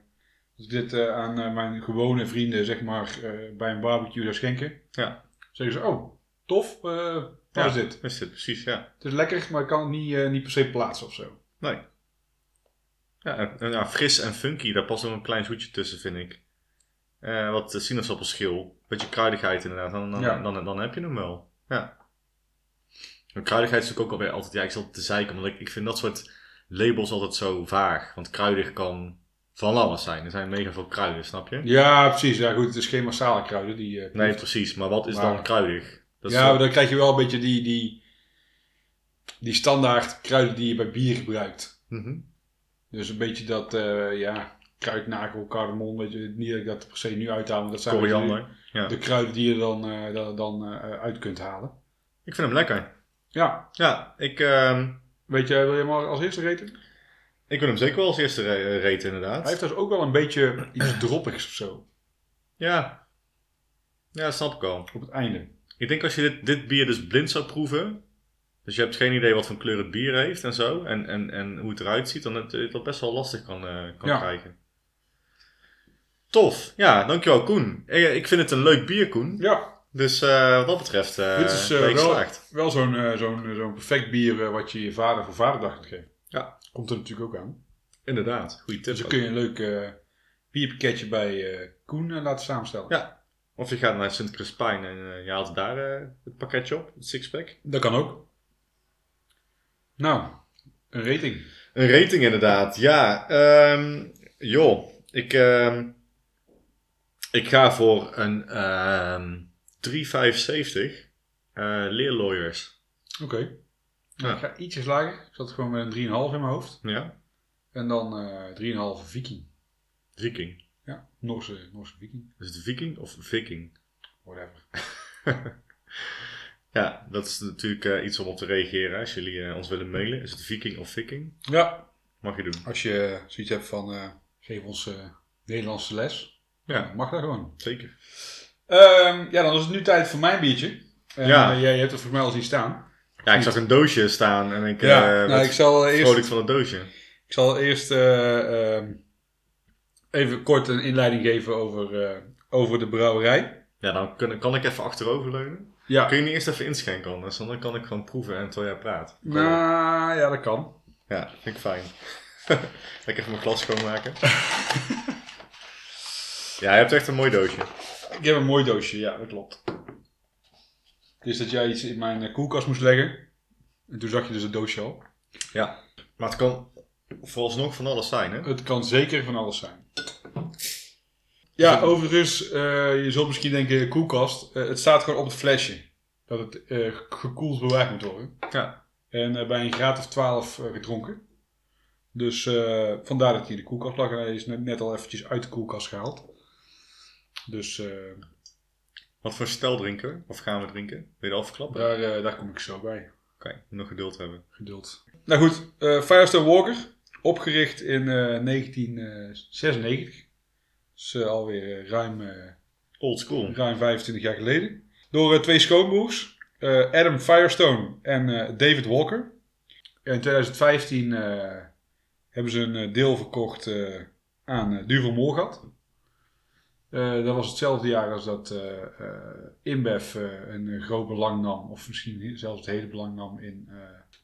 S1: als ik dit eh, aan eh, mijn gewone vrienden, zeg maar, eh, bij een barbecue zou schenken,
S2: Ja.
S1: zeggen ze, oh, tof, eh wat
S2: Ja.
S1: is dit?
S2: Dat is het, precies, ja.
S1: Het is lekker, maar ik kan het niet, eh, niet per se plaatsen of zo.
S2: Nee. Ja, en, en ja, fris en funky, daar past ook een klein zoetje tussen, vind ik. Eh, wat eh, sinaasappelschil, beetje kruidigheid inderdaad, dan, dan,
S1: Ja.
S2: dan, dan, heb je hem wel. Ja. En kruidigheid is natuurlijk ook alweer altijd, ja, ik zal te zeiken, want ik, ik vind dat soort labels altijd zo vaag. Want kruidig kan van alles zijn. Er zijn mega veel kruiden, snap je?
S1: Ja, precies. Ja, goed, het is geen massale kruiden. Die, eh,
S2: Nee, precies. Maar wat is dan
S1: Maar-
S2: kruidig? Dat is
S1: ja,
S2: zo-
S1: maar dan krijg je wel een beetje die, die, die standaard kruiden die je bij bier gebruikt.
S2: Mhm.
S1: Dus een beetje dat, eh, ja, kruidnagel, kardemom, weet je, niet dat ik dat per se nu uithaal, maar dat zijn
S2: Koriander.
S1: de, de kruiden die je dan, eh, da- dan eh, uit kunt halen.
S2: Ik vind hem lekker.
S1: Ja,
S2: Ja, ik, ehm,
S1: weet je, wil je hem al als eerste eten?
S2: ik wil hem zeker wel als eerste re- reten, inderdaad.
S1: Hij heeft dus ook wel een beetje iets droppigs of zo,
S2: Ja. Ja, dat snap ik al.
S1: op het einde.
S2: Ik denk als je dit, dit bier dus blind zou proeven. Dus je hebt geen idee wat voor kleur het bier heeft en zo. En, en, en hoe het eruit ziet. Dan het, het dat best wel lastig kan, eh, kan
S1: Ja.
S2: krijgen. Tof. Ja, dankjewel Koen. Eh, Ik, ik vind het een leuk bier Koen.
S1: Ja,
S2: Dus eh, wat dat betreft eh
S1: Dit is, eh,
S2: ben je
S1: wel-
S2: geslaagd.
S1: wel zo'n eh, zo'n zo'n perfect bier eh, wat je je vader voor vaderdag kunt geven.
S2: Ja.
S1: Komt er natuurlijk ook aan.
S2: Inderdaad. Goeie tip.
S1: Dus dan
S2: ook.
S1: kun je een leuk eh, bierpakketje bij eh, Koen eh, laten samenstellen.
S2: Ja. Of je gaat naar Sint Crispijn en eh, je haalt daar eh, het pakketje op. Het sixpack.
S1: Dat kan ook. Nou, een rating.
S2: Een rating inderdaad, ja. Ehm joh, ik, ehm, ik ga voor een ehm 3,75 eh leerlawyers.
S1: Oké.
S2: Ja.
S1: Nou, Ik ga ietsjes lager. Ik zat gewoon met een 3,5 in mijn hoofd.
S2: Ja,
S1: En dan eh 3,5 viking.
S2: viking.
S1: Ja, Noorse, Noorse viking.
S2: Is het viking of viking?
S1: Whatever.
S2: Ja, dat is natuurlijk eh, iets om op te reageren. Als jullie eh, ons willen mailen, is het viking of viking?
S1: Ja.
S2: Mag je doen.
S1: Als je eh, zoiets hebt van, eh, geef ons eh, Nederlandse les.
S2: Ja.
S1: dan Mag dat gewoon.
S2: Zeker.
S1: Ehm, ja, dan is het nu tijd voor mijn biertje. En,
S2: Ja.
S1: eh, jij hebt het voor mij al zien staan.
S2: Ja, ik zag een doosje staan en ik eh
S1: ja, nou,
S2: werd
S1: ik zal eh, eerst...
S2: vrolijk van het doosje.
S1: Ik zal eerst eh, ehm, even kort een inleiding geven over, eh, over de brouwerij.
S2: Ja, dan kun, kan ik even achteroverleunen.
S1: Ja.
S2: Kun je niet eerst even inschenken anders? Want Dan kan ik gewoon proeven en terwijl jij praat.
S1: Nou, ja, dat kan.
S2: Ja, vind ik fijn. Lekker even mijn glas schoonmaken. ja, je hebt echt een mooi doosje.
S1: Ik heb een mooi doosje, ja, dat klopt. Dus dat jij iets in mijn eh, koelkast moest leggen. En toen zag je dus het doosje al.
S2: Ja. Maar het kan vooralsnog van alles zijn, hè?
S1: Het kan zeker van alles zijn. Ja, overigens, eh, je zult misschien denken, koelkast. Eh, het staat gewoon op het flesje. Dat het eh, gekoeld bewaard moet worden.
S2: Ja.
S1: En eh, bij een graad of 12 eh, gedronken. Dus eh, vandaar dat hij in de koelkast lag. En hij is net, net al eventjes uit de koelkast gehaald. Dus eh,
S2: Wat voor stel drinken we? Of gaan we drinken? Wil je dat afklappen?
S1: daar, eh, daar kom ik zo bij.
S2: Oké, moet nog geduld hebben.
S1: Geduld. Nou goed, eh Firestone Walker. Opgericht in eh, 1996. Dus eh, alweer eh, ruim, eh,
S2: Old school.
S1: ruim 25 jaar geleden. Door eh, twee schoonbroers. eh, Adam Firestone en eh, David Walker. In 2015 eh, hebben ze een eh, deel verkocht eh, aan eh, Duvel Morgat. Eh, dat was hetzelfde jaar als dat eh, eh, InBev eh, een eh, groot belang nam, of misschien zelfs het hele belang nam in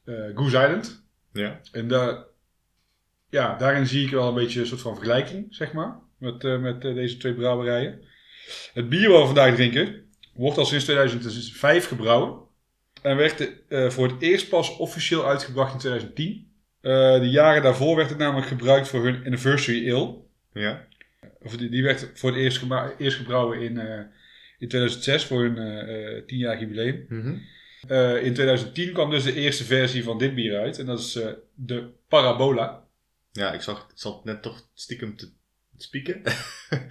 S1: eh, eh, Goose Island.
S2: Ja.
S1: En daar, ja, daarin zie ik wel een beetje een soort van vergelijking, zeg maar, met, eh, met eh, deze twee brouwerijen. Het bier wat we vandaag drinken wordt al sinds 2005 gebrouwen. En werd eh, voor het eerst pas officieel uitgebracht in 2010. Eh, de jaren daarvoor werd het namelijk gebruikt voor hun anniversary ale.
S2: Ja.
S1: Of die, die werd voor het eerst, gema- eerst gebrouwen in, eh, in 2006 voor hun eh 10-jarig jubileum. Eh, in 2010 kwam dus de eerste versie van dit bier uit. En dat is eh, de Parabola.
S2: Ja, ik zag, ik zat net toch stiekem te spieken.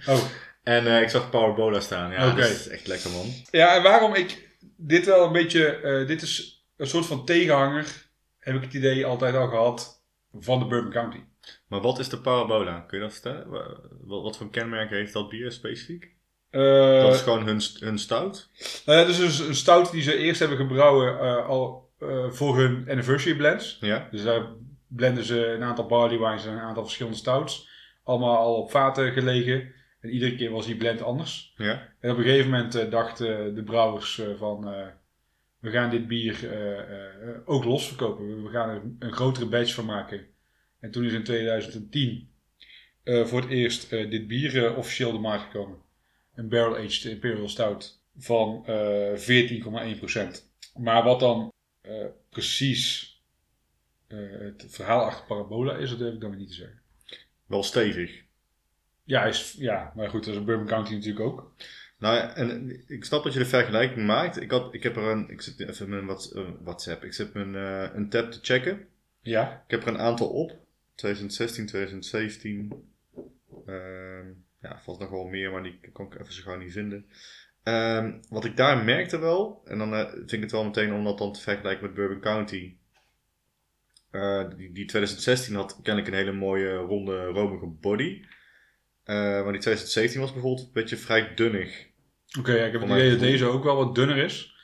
S1: Oh.
S2: en eh, ik zag Powerbola staan. Ja,
S1: Oké.
S2: dat is echt lekker, man.
S1: Ja, en waarom ik dit wel een beetje... eh, dit is een soort van tegenhanger, heb ik het idee altijd al gehad, van de Bourbon County.
S2: Maar wat is de Parabola? Kun je dat vertellen? Wa- Wat, wat voor kenmerken heeft dat bier specifiek?
S1: Eh,
S2: dat is gewoon hun, st- hun stout?
S1: Nou ja, dus een, een stout die ze eerst hebben gebrouwen eh, al eh, voor hun anniversary blends.
S2: Ja.
S1: Dus daar blenden ze een aantal barley wines en een aantal verschillende stouts. Allemaal al op vaten gelegen. En iedere keer was die blend anders.
S2: Ja.
S1: En op een gegeven moment eh, dachten de brouwers eh, van... eh, we gaan dit bier eh, eh, eh, ook los verkopen. We gaan er een grotere batch van maken. En toen is in 2010 eh, voor het eerst eh, dit bier eh, officieel de markt gekomen. Een barrel-aged Imperial Stout van eh 14,1%. Maar wat dan eh, precies eh, het verhaal achter Parabola is, dat durf ik dan weer niet te zeggen.
S2: Wel stevig.
S1: Ja, hij is, ja maar goed, dat is Bourbon County natuurlijk ook.
S2: Nou, ja, en ik snap dat je de vergelijking maakt. Ik, had, ik heb er een. Ik zit even mijn wat, eh, WhatsApp. Ik zit mijn eh, een tab te checken.
S1: Ja,
S2: Ik heb er een aantal op. 2016, 2017. Ehm, ja, vast nog wel meer, maar die kan ik even zo gauw niet vinden. Ehm, wat ik daar merkte wel, en dan eh, vind ik het wel meteen om dat dan te vergelijken met Bourbon County. Eh, die, die 2016 had kennelijk een hele mooie ronde, romige body. Eh, maar die 2017 was bijvoorbeeld een beetje vrij dunnig.
S1: oké, ja, ik heb
S2: Voor
S1: het
S2: mijn
S1: idee dat
S2: gevoel.
S1: deze ook wel wat dunner is.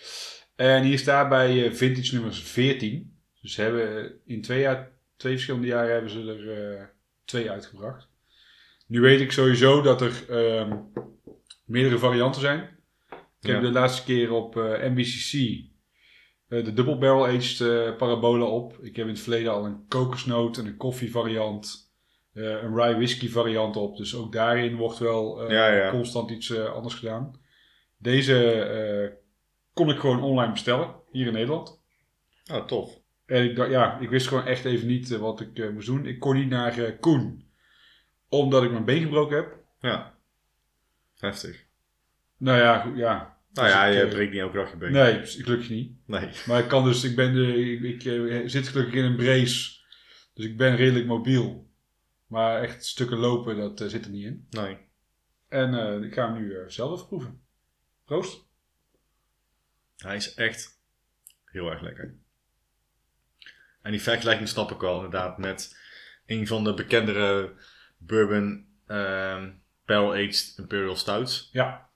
S1: En hier staat bij eh, vintage nummers 14. Dus ze hebben in twee, jaar, twee verschillende jaren hebben ze er eh, twee uitgebracht. Nu weet ik sowieso dat er ehm, meerdere varianten zijn. Ik heb
S2: Ja.
S1: de laatste keer op eh, NBCC eh, de Double Barrel Aged eh, Parabola op. Ik heb in het verleden al een kokosnoot en een koffie variant. eh, een rye whisky variant op. Dus ook daarin wordt wel eh,
S2: Ja, ja.
S1: constant iets eh, anders gedaan. Deze eh, kon ik gewoon online bestellen, hier in Nederland.
S2: Nou, tof.
S1: En ik dacht, ja, ik wist gewoon echt even niet eh, wat ik eh, moest doen. Ik kon niet naar eh, Koen, omdat ik mijn been gebroken heb.
S2: Ja. Heftig.
S1: Nou ja, goed, ja.
S2: Nou ja,
S1: Dus ik,
S2: je
S1: eh,
S2: breekt niet elke dag je been.
S1: Nee, gelukkig niet.
S2: nee.
S1: Maar ik kan dus, ik ben, de, ik, ik, eh, zit gelukkig in een brace. Dus ik ben redelijk mobiel. Maar echt stukken lopen, dat eh, zit er niet in.
S2: nee.
S1: En eh, ik ga hem nu eh, zelf even proeven. Proost.
S2: Hij is echt heel erg lekker. En die vergelijking snap ik wel inderdaad met een van de bekendere bourbon ehm barrel aged imperial stouts.
S1: Ja.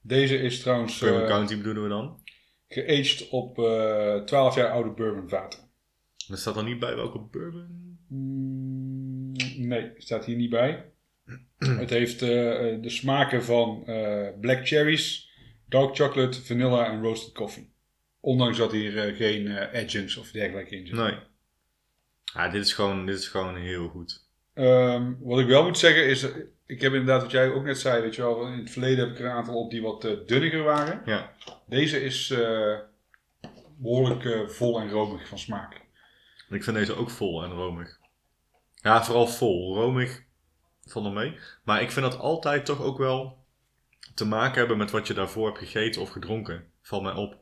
S1: Deze is trouwens eh,
S2: Bourbon County bedoelen we dan.
S1: geaged op eh 12 jaar oude bourbonvaten.
S2: Er staat dan niet bij welke bourbon.
S1: Mm, nee, staat hier niet bij. Het heeft eh, eh, de smaken van eh, black cherries, dark chocolate, vanilla en roasted coffee. Ondanks dat hier eh, geen eh, adjuncts of dergelijke in zitten.
S2: Nee. Ja, dit is gewoon, dit is gewoon heel goed.
S1: Ehm, wat ik wel moet zeggen is, eh, ik heb inderdaad wat jij ook net zei, weet je wel, in het verleden heb ik er een aantal op die wat eh, dunniger waren.
S2: Ja.
S1: Deze is eh, behoorlijk eh, vol en romig van smaak.
S2: Ik vind deze ook vol en romig. Ja, vooral vol. Romig van de mee. Maar ik vind dat altijd toch ook wel te maken hebben met wat je daarvoor hebt gegeten of gedronken. Valt mij op.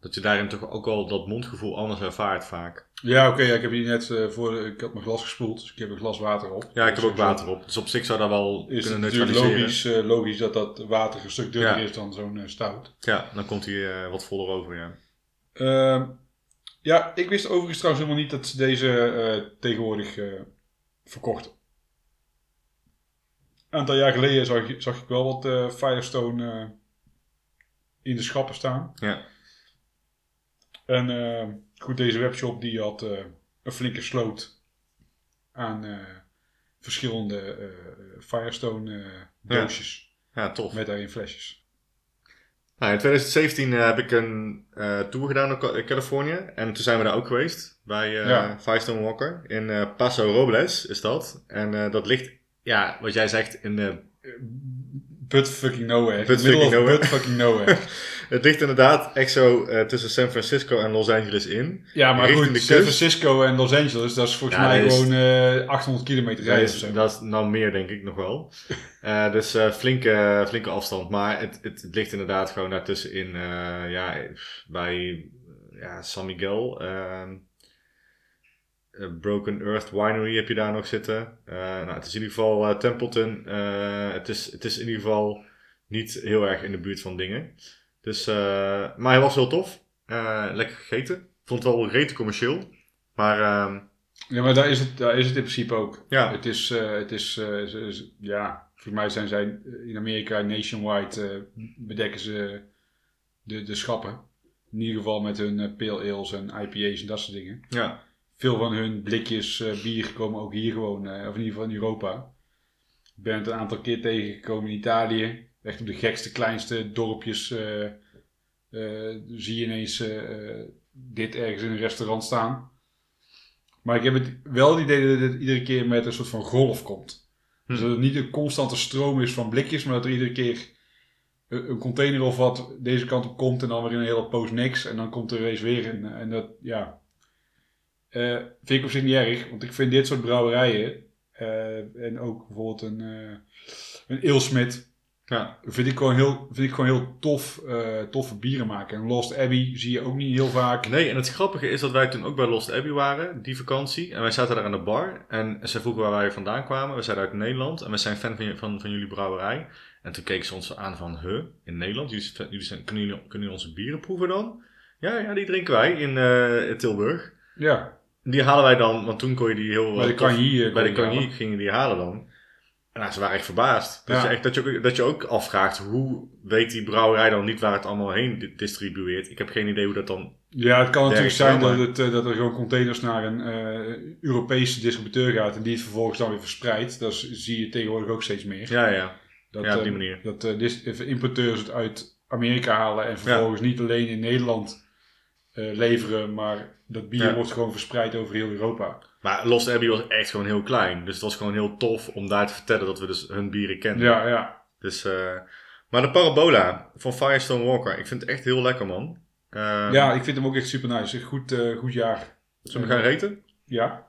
S2: Dat je daarin toch ook wel dat mondgevoel anders ervaart vaak.
S1: Ja, oké, ja, ik heb hier net eh, voor, de- ik had mijn glas gespoeld, dus ik heb een glas water op.
S2: Ja, ik heb
S1: Dus
S2: ook water op. Dus op zich zou dat wel
S1: Is het
S2: kunnen
S1: natuurlijk
S2: neutraliseren.
S1: logisch, eh, logisch dat dat water een stuk dunner
S2: Ja.
S1: is dan zo'n eh, stout.
S2: Ja, dan komt hij eh, wat voller over, ja.
S1: Ehm, ja, ik wist overigens trouwens helemaal niet dat ze deze eh, tegenwoordig eh, verkochten. Een aantal jaar geleden zag, ik- zag ik wel wat eh, Firestone eh, in de schappen staan.
S2: Ja.
S1: En eh, goed, deze webshop die had eh, een flinke sloot aan eh, verschillende eh, Firestone eh,
S2: Ja.
S1: doosjes
S2: Ja, tof.
S1: met daarin flesjes.
S2: Nou, in 2017 heb ik een eh, tour gedaan naar Ca- Californië. En toen zijn we daar ook geweest. Bij eh
S1: Ja.
S2: Five Stone Walker. In eh, Paso Robles is dat. En eh, dat ligt, ja, wat jij zegt, in, eh,
S1: But fucking nowhere.
S2: But
S1: Middle
S2: fucking
S1: of
S2: nowhere.
S1: But fucking nowhere.
S2: het ligt inderdaad echt zo eh, tussen San Francisco en Los Angeles in.
S1: Ja, maar
S2: Richting
S1: goed,
S2: de
S1: San
S2: kust.
S1: Francisco en Los Angeles, dat is volgens
S2: Ja,
S1: mij
S2: dat is-
S1: gewoon eh 800 kilometer
S2: Dat
S1: rijden.
S2: is,
S1: of zo.
S2: dat is nou meer, denk ik nog wel. Eh, dus eh, flinke, flinke afstand. Maar het, het, het ligt inderdaad gewoon daartussen in. eh, ja, bij ja, San Miguel. ehm, eh, Broken Earth Winery heb je daar nog zitten. Eh, nou, het is in ieder geval eh, Templeton. eh, het, is, het is in ieder geval niet heel erg in de buurt van dingen. Dus, eh, maar hij was heel tof. Eh, lekker gegeten. Ik vond het wel rete commercieel. Maar ehm,
S1: Ja, maar daar is, het, daar is het in principe ook.
S2: ja,
S1: Het is, eh, het is, eh, is- is- ja, voor mij zijn zij eh, in Amerika nationwide eh, bedekken ze de, de schappen. In ieder geval met hun eh, pale ales en IPA's en dat soort dingen.
S2: ja.
S1: Veel van hun blikjes eh, bier komen ook hier gewoon, eh, of in ieder geval in Europa. Ik ben het een aantal keer tegengekomen in Italië. Echt op de gekste, kleinste dorpjes eh, eh, zie je ineens eh, eh, dit ergens in een restaurant staan. Maar ik heb het wel het idee dat het iedere keer met een soort van golf komt.
S2: Hm.
S1: Dus dat het niet een constante stroom is van blikjes, maar dat er iedere keer een een container of wat deze kant op komt en dan weer een hele poos niks. En dan komt er eens weer een. En dat, ja, Eh, vind ik op zich niet erg, want ik vind dit soort brouwerijen eh, en ook bijvoorbeeld een, eh een Eelsmit,
S2: Ja.
S1: vind ik gewoon heel, vind ik gewoon heel tof, eh, toffe bieren maken. En Lost Abbey zie je ook niet heel vaak.
S2: Nee, en het grappige is dat wij toen ook bij Lost Abbey waren, die vakantie. En wij zaten daar aan de bar. En ze vroegen waar wij vandaan kwamen. We zeiden uit Nederland. En we zijn fan van, je- van, van jullie brouwerij. En toen keken ze ons aan van, huh, in Nederland? Jullie, zijn- jullie zijn, kunnen, jullie, kunnen jullie onze bieren proeven dan? Ja, ja, die drinken wij in eh, Tilburg.
S1: Ja,
S2: Die halen wij dan, want toen kon je die heel...
S1: bij de
S2: tof-
S1: Kanye. eh,
S2: bij de
S1: kon je
S2: Kanye
S1: halen.
S2: gingen die halen dan. En nou, ze waren echt verbaasd. Dat,
S1: Ja.
S2: je echt, dat, je ook, dat je ook afvraagt, hoe weet die brouwerij dan niet waar het allemaal heen di- distribueert? Ik heb geen idee hoe dat dan...
S1: Ja, het kan natuurlijk zijn dat,
S2: reclame.
S1: het, eh, dat er gewoon containers naar een eh, Europese distributeur gaat en die het vervolgens dan weer verspreidt. Dat is- zie je tegenwoordig ook steeds meer.
S2: Ja, ja.
S1: Dat,
S2: ja, op die
S1: eh,
S2: manier.
S1: Dat eh, dis- eh, importeurs het uit Amerika halen en vervolgens niet alleen in Nederland eh, leveren, maar dat bier
S2: Ja.
S1: wordt gewoon verspreid over heel Europa.
S2: Maar Lost Abbey was echt gewoon heel klein. Dus het was gewoon heel tof om daar te vertellen dat we dus hun bieren kennen.
S1: Ja, ja.
S2: Dus, eh, maar de Parabola van Firestone Walker. Ik vind het echt heel lekker, man. Eh,
S1: ja, ik vind hem ook echt super nice. Een Goed, eh, goed jaar.
S2: Zullen we gaan reten?
S1: Ja.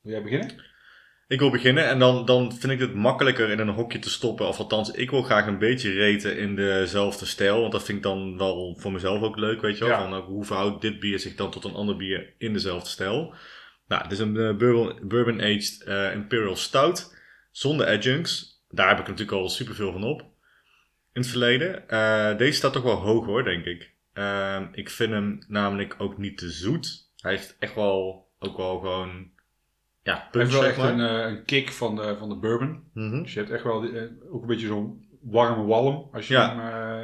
S1: Wil jij beginnen?
S2: Ik wil beginnen en dan, dan vind ik het makkelijker in een hokje te stoppen. Of althans, ik wil graag een beetje reten in dezelfde stijl. Want dat vind ik dan wel voor mezelf ook leuk, weet je wel.
S1: Ja.
S2: Van, eh, hoe verhoudt dit bier zich dan tot een ander bier in dezelfde stijl? Nou, het is een eh, bourbon, bourbon aged eh, imperial stout. Zonder adjuncts. Daar heb ik natuurlijk al superveel van op. In het verleden. Eh, deze staat toch wel hoog hoor, denk ik. Ehm, ik vind hem namelijk ook niet te zoet. Hij heeft echt wel, ook wel gewoon... Ja,
S1: Hij
S2: punch,
S1: heeft wel
S2: zeg
S1: echt
S2: maar.
S1: een, eh, een kick van de, van de bourbon.
S2: Mhm.
S1: Dus je hebt echt wel die, eh, ook een beetje zo'n warme walm. Als je
S2: Ja.
S1: hem,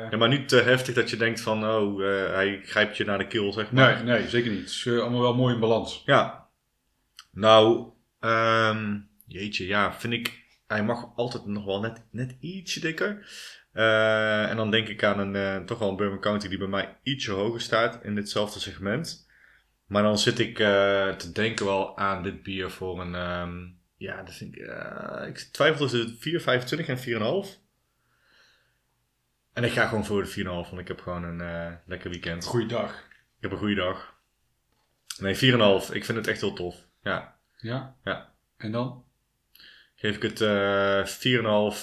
S1: eh,
S2: Ja, maar niet te heftig dat je denkt van, oh, eh, hij grijpt je naar de keel, zeg maar.
S1: Nee, nee, zeker niet. Het is eh, allemaal wel mooi in balans.
S2: Ja. Nou, ehm, jeetje, ja, vind ik, hij mag altijd nog wel net, net ietsje dikker. Eh, en dan denk ik aan een, eh, toch wel een Bourbon County die bij mij ietsje hoger staat in ditzelfde segment. Maar dan zit ik eh, te denken wel aan dit bier voor een, ehm, ja, dat vind ik, eh, ik twijfel tussen 4,25 en 4,5. En ik ga gewoon voor de 4,5, want ik heb gewoon een eh, lekker weekend.
S1: Goeiedag.
S2: Ik heb een goede dag. Nee, 4,5. Ik vind het echt heel tof. Ja,
S1: Ja?
S2: Ja.
S1: En dan?
S2: geef ik het eh 4,5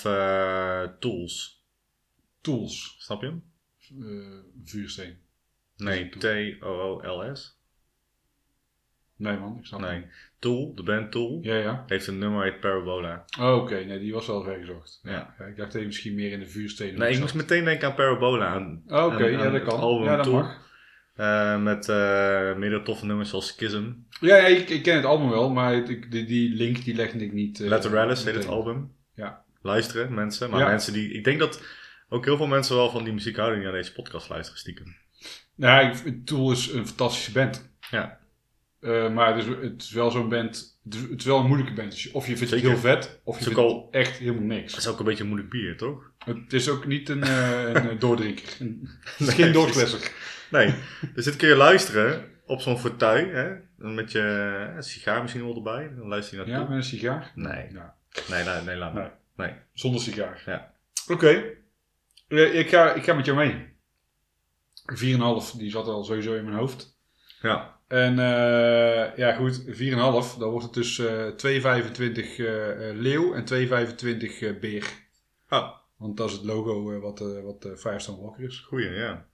S2: eh, tools.
S1: Tools.
S2: Snap je hem? Dus
S1: Eh, vuursteen.
S2: Nee,
S1: Dat is
S2: T-O-O-L-S.
S1: Oh, Nee man, ik snap het
S2: Nee, Tool, de band Tool,
S1: niet. Ja, ja.
S2: heeft een nummer heet Parabola.
S1: Oh, oké. Nee, die was wel ver gezocht.
S2: Ja.
S1: Ja, ik dacht even misschien meer in de vuurstenen.
S2: Nee, ik
S1: zat.
S2: moest meteen denken aan Parabola. Aan,
S1: Oh, oké.
S2: aan-
S1: ja,
S2: aan
S1: dat
S2: het
S1: kan.
S2: album
S1: Ja, dat
S2: Tool.
S1: mag.
S2: Eh, met eh meerdere toffe nummers zoals Schism.
S1: Ja, ja, ik, ik ken het album wel, maar het- ik, die, die link die legde ik niet... eh,
S2: Lateralis heet het
S1: meteen.
S2: album.
S1: Ja.
S2: Luisteren, mensen. Maar
S1: Ja.
S2: mensen die... Ik denk dat ook heel veel mensen wel van die muziek houden die naar deze podcast luisteren stiekem.
S1: Nou, ik, vind- Tool is een fantastische band.
S2: Ja.
S1: Eh, maar het is, het is wel zo'n band... Het is, het is wel een moeilijke band. Dus of je vindt
S2: Zeker.
S1: het heel vet, of je
S2: Is ook
S1: vindt
S2: al-
S1: het echt helemaal niks.
S2: Dat is ook een beetje een moeilijk bier, toch?
S1: Het is ook niet een, eh, een eh, doordrinker. Een- Het is
S2: Nee,
S1: geen
S2: precies.
S1: doorklesser.
S2: Nee, dus dit kun je luisteren op zo'n fauteuil, hè? met je eh, sigaar misschien wel erbij. Dan luister je
S1: Ja,
S2: naartoe.
S1: met een sigaar?
S2: Nee.
S1: Ja.
S2: Nee, nee, nee, laat maar.
S1: Zonder sigaar.
S2: Ja.
S1: Oké. Eh, ik, ga, ik ga met jou mee. 4,5, die zat al sowieso in mijn hoofd.
S2: Ja,
S1: En eh, ja, goed, 4,5, dan wordt het dus eh, 2,25 eh, eh, leeuw en 2,25 eh, beer.
S2: Oh.
S1: Want dat is het logo eh, wat, eh wat eh, Firestone Walker is.
S2: goeie, ja.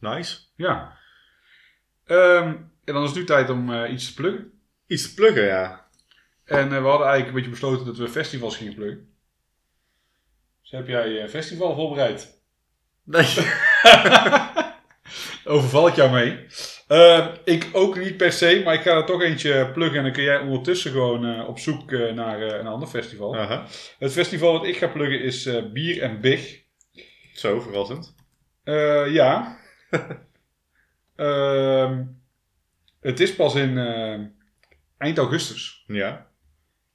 S2: Nice.
S1: Ja. Ehm, en dan is het nu tijd om eh, iets te pluggen.
S2: Iets te pluggen, ja.
S1: En eh, we hadden eigenlijk een beetje besloten dat we festivals gingen pluggen. Dus heb jij je festival voorbereid?
S2: Nee.
S1: Overval ik jou mee? Eh, ik ook niet per se, maar ik ga er toch eentje pluggen. En dan kun jij ondertussen gewoon eh, op zoek eh, naar eh, een ander festival.
S2: Aha.
S1: Het festival wat ik ga pluggen is eh, Bier en Big.
S2: Zo, verrassend.
S1: Eh, ja. Ehm, het is pas in eh, eind augustus.
S2: Ja.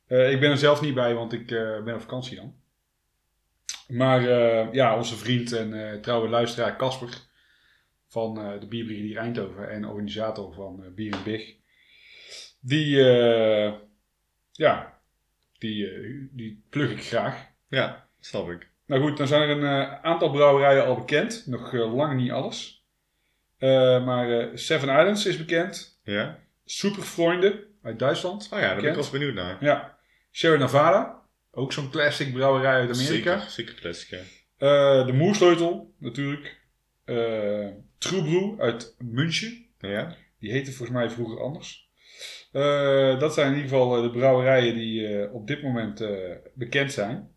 S1: Eh, ik ben er zelf niet bij, want ik eh, ben op vakantie dan. Maar eh, ja, onze vriend en eh, trouwe luisteraar Casper van eh, de Bierbrigadier Eindhoven en organisator van eh, Bier en Big. Die, eh, ja, die, eh, die plug ik graag.
S2: Ja, snap ik.
S1: Nou goed, dan zijn er een eh, aantal brouwerijen al bekend. Nog eh, lang niet alles. Eh, maar eh, Seven Islands is bekend.
S2: Ja?
S1: Superfreunde uit Duitsland.
S2: Oh ja, daar ben
S1: Bekend.
S2: ik als benieuwd naar.
S1: Ja. Sierra Nevada. Ook zo'n classic brouwerij uit Amerika.
S2: Zeker, zeker classic, ja.
S1: Eh, de Moersleutel, natuurlijk. Eh True Brew uit München.
S2: Ja?
S1: Die heette volgens mij vroeger anders. Eh, dat zijn in ieder geval eh, de brouwerijen die eh, op dit moment eh, bekend zijn.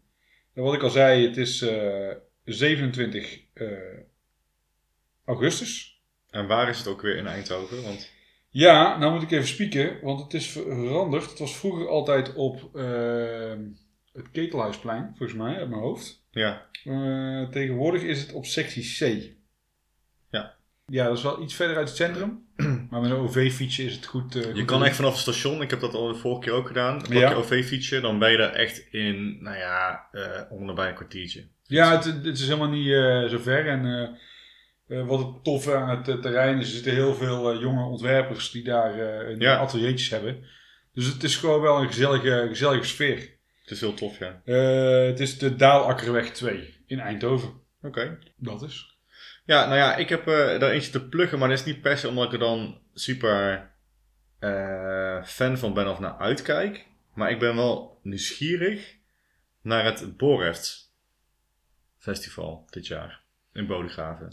S1: En wat ik al zei, het is eh, 27 eh, augustus.
S2: En waar is het ook weer in Eindhoven? Want
S1: Ja, nou moet ik even spieken, want het is ver- veranderd. Het was vroeger altijd op eh, het Ketelhuisplein, volgens mij, uit mijn hoofd.
S2: ja,
S1: Eh, tegenwoordig is het op sectie C.
S2: Ja.
S1: Ja, dat is wel iets verder uit het centrum. Maar met een OV-fietsje is het goed. eh,
S2: je
S1: goed
S2: kan
S1: te
S2: echt vanaf het station, ik heb dat al de vorige keer ook gedaan, pak
S1: Ja.
S2: je OV-fietsje, dan ben je daar echt in, nou ja, eh onderbij een kwartiertje.
S1: doen. Ja, het, het is helemaal niet eh, zo ver. En eh, eh, wat het toffe aan het eh, terrein is, er zitten heel veel eh, jonge ontwerpers die daar eh, hun
S2: Ja.
S1: ateliertjes hebben. Dus het is gewoon wel een gezellige, gezellige sfeer.
S2: Het is heel tof, ja.
S1: Eh, het is de Daalakkerweg 2 in Eindhoven.
S2: Oké.
S1: Dat is.
S2: Ja, nou ja, ik heb eh, daar eentje te pluggen, maar dat is niet per se omdat ik er dan super eh, fan van ben of naar uitkijk. Maar ik ben wel nieuwsgierig naar het Boreft Festival dit jaar in Bodegraven.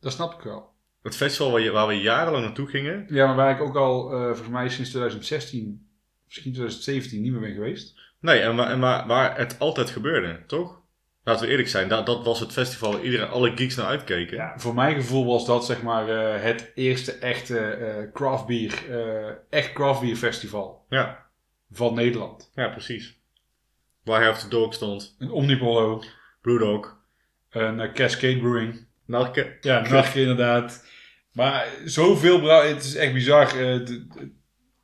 S1: Dat snap ik wel.
S2: Het festival waar, je- waar we jarenlang naartoe gingen.
S1: Ja, maar waar ik ook al eh, volgens mij sinds 2016, misschien 2017 niet meer ben geweest.
S2: Nee, en, waar- en waar, waar het altijd gebeurde, toch? Laten we eerlijk zijn, dat, dat was het festival waar iedereen, alle geeks naar uitkeken.
S1: Ja, voor mijn gevoel was dat zeg maar eh, het eerste echte eh craft beer, eh, echt craft beer festival
S2: ja,
S1: van Nederland.
S2: ja, precies. Waar Have the Dog stond,
S1: Een Omnipolo,
S2: Blue Dog.
S1: een eh, Cascade Brewing.
S2: Narke.
S1: Ja, Narke inderdaad. Maar zoveel brouwerijen, het is echt bizar. eh, de- de-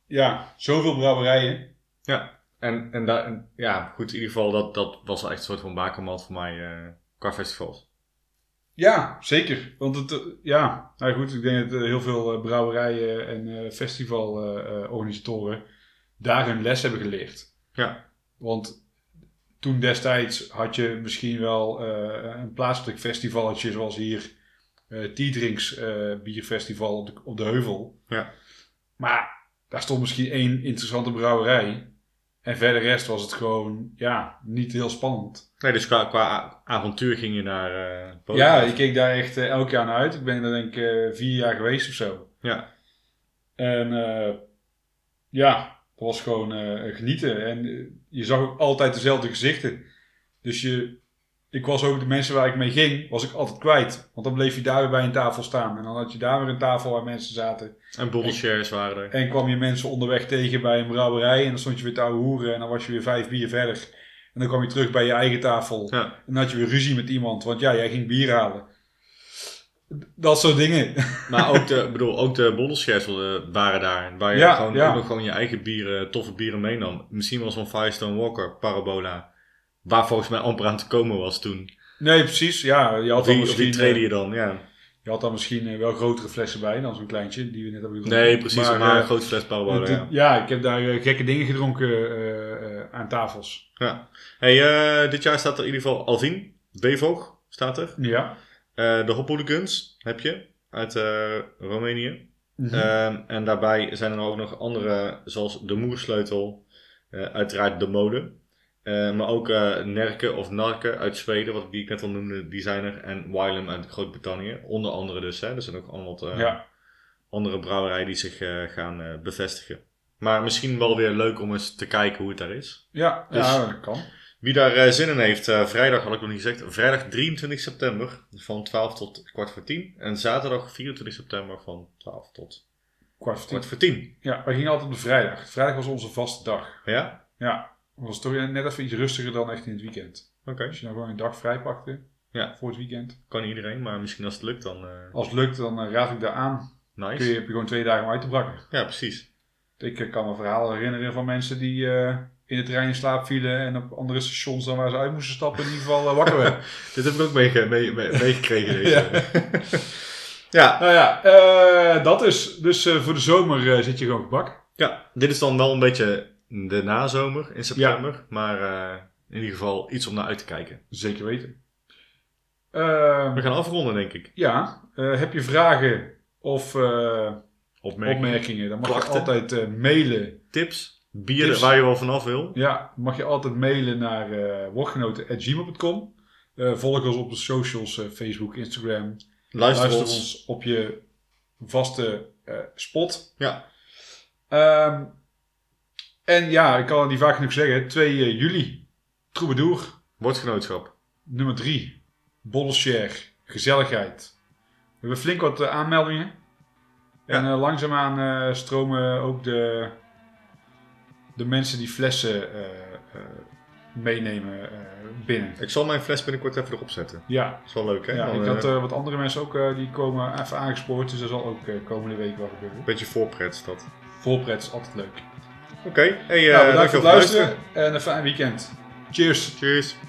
S1: ja, zoveel brouwerijen.
S2: Ja, en, en, daar, en ja, goed, in ieder geval, dat, dat was echt een soort van bakermat voor mij eh, qua festivals.
S1: Ja, zeker. Want het, eh, ja, nou goed, ik denk dat eh, heel veel eh, brouwerijen en eh, festivalorganisatoren eh, daar hun les hebben geleerd.
S2: Ja.
S1: Want toen destijds had je misschien wel eh, een plaatselijk festivalletje zoals hier eh Teedrinks bierfestival op de, op de Heuvel.
S2: Ja.
S1: Maar daar stond misschien één interessante brouwerij. En verder rest was het gewoon ja, niet heel spannend.
S2: Nee, dus qua, qua a- avontuur ging je naar eh Polen.
S1: Ja, ik keek daar echt eh, elk jaar naar uit. Ik ben er denk ik eh, vier jaar geweest of zo.
S2: Ja.
S1: En eh, ja, dat was gewoon eh, genieten. En eh, je zag ook altijd dezelfde gezichten. Dus je, ik was ook de mensen waar ik mee ging, was ik altijd kwijt. Want dan bleef je daar weer bij een tafel staan. En dan had je daar weer een tafel waar mensen zaten.
S2: En bobbelshares waren er.
S1: En kwam je mensen onderweg tegen bij een brouwerij. En dan stond je weer te ouwe hoeren. En dan was je weer vijf bier verder. En dan kwam je terug bij je eigen tafel.
S2: Ja.
S1: En dan had je weer ruzie met iemand, want ja, jij ging bier halen. Dat soort dingen.
S2: Maar ook de, ik bedoel, ook de bobbelshares wilden- waren daar. Waar je
S1: Ja,
S2: gewoon,
S1: ja.
S2: ook nog gewoon je eigen bieren, toffe bieren meenam. Misschien wel zo'n Firestone Walker Parabola. Waar volgens mij amper aan te komen was toen.
S1: Nee, precies. Ja, je had,
S2: Of die,
S1: dan
S2: of die
S1: misschien,
S2: treden
S1: eh,
S2: je dan, ja.
S1: je had dan misschien eh, wel grotere flessen bij dan zo'n kleintje die we net hebben gedronken.
S2: Nee, precies. Maar,
S1: eh,
S2: een grote fles Parabola,
S1: het-
S2: ja.
S1: ja, ik heb daar eh, gekke dingen gedronken eh, eh, aan tafels.
S2: Ja. Hey, eh, dit jaar staat er in ieder geval Alvin. Bevog staat er.
S1: Ja.
S2: Eh, de Hopooligans heb je uit eh, Roemenië.
S1: Mhm.
S2: Ehm, en daarbij zijn er ook nog andere, zoals de Moersleutel, eh, uiteraard de mode. Eh, maar ook eh Nerke of Narke uit Zweden, wat ik, die ik net al noemde, die zijn er. En Wylam uit Groot-Brittannië, onder andere dus. Hè. Er zijn ook allemaal wat, eh,
S1: ja.
S2: andere brouwerijen die zich eh, gaan eh, bevestigen. Maar misschien wel weer leuk om eens te kijken hoe het daar is.
S1: Ja,
S2: dus-
S1: ja, dat kan.
S2: Wie daar eh, zin in heeft, eh, vrijdag had ik nog niet gezegd, vrijdag 23 september van 12 tot kwart voor 10. En zaterdag 24 september van 12 tot
S1: Kwart voor tien.
S2: kwart voor 10.
S1: Ja, wij gingen altijd op de vrijdag. Vrijdag was onze vaste dag.
S2: Ja?
S1: Ja, dat was toch net even iets rustiger dan echt in het weekend.
S2: Oké.
S1: Als je nou gewoon een dag vrij pakte
S2: Ja.
S1: voor het weekend.
S2: Kan iedereen, maar misschien als het lukt dan eh,
S1: Als het lukt, dan eh, raad ik daar aan.
S2: nice.
S1: Kun je, heb je gewoon twee dagen om uit te brakken.
S2: Ja, precies.
S1: Ik eh, kan me verhalen herinneren van mensen die eh, in de trein in slaap vielen en op andere stations dan waar ze uit moesten stappen, in ieder geval eh, wakker werden.
S2: Dit heb ik ook meege- mee- mee- meegekregen deze. ja.
S1: nou ja, eh, dat is. Dus eh, voor de zomer eh, zit je gewoon gebak.
S2: ja, dit is dan wel een beetje de nazomer in september. Maar eh, in ieder geval iets om naar uit te kijken.
S1: Zeker weten. Ehm,
S2: We gaan afronden denk ik.
S1: ja, eh, heb je vragen of eh,
S2: opmerkingen,
S1: Opmerkingen, dan mag je
S2: Klachten.
S1: altijd eh, mailen.
S2: tips, bier
S1: Tips.
S2: waar je wel vanaf wil.
S1: Ja, mag je altijd mailen naar eh wordgenoten.gmail.com. Eh, volg ons op de socials, eh, Facebook, Instagram.
S2: Luister,
S1: Luister
S2: ons.
S1: ons. op je vaste eh, spot.
S2: Ja.
S1: Ehm, en ja, ik kan het niet vaak genoeg zeggen. 2 juli, Troubadour,
S2: Woordgenootschap.
S1: nummer 3. Bolshare, gezelligheid. We hebben flink wat eh, aanmeldingen. En eh, langzaamaan eh, stromen ook de, de mensen die flessen eh, eh, meenemen eh, binnen.
S2: Ik zal mijn fles binnenkort even erop zetten.
S1: Ja,
S2: Dat is wel leuk, hè?
S1: ja
S2: Dan,
S1: ik
S2: eh,
S1: had eh, wat andere mensen ook, eh, die komen even aangespoord. Dus dat zal ook eh, komende week wel gebeuren.
S2: een beetje voorpret is dat.
S1: Volpret is altijd leuk.
S2: Oké, hey, eh,
S1: Ja, bedankt
S2: dankjewel
S1: voor het luisteren en een fijn weekend. Cheers!
S2: Cheers.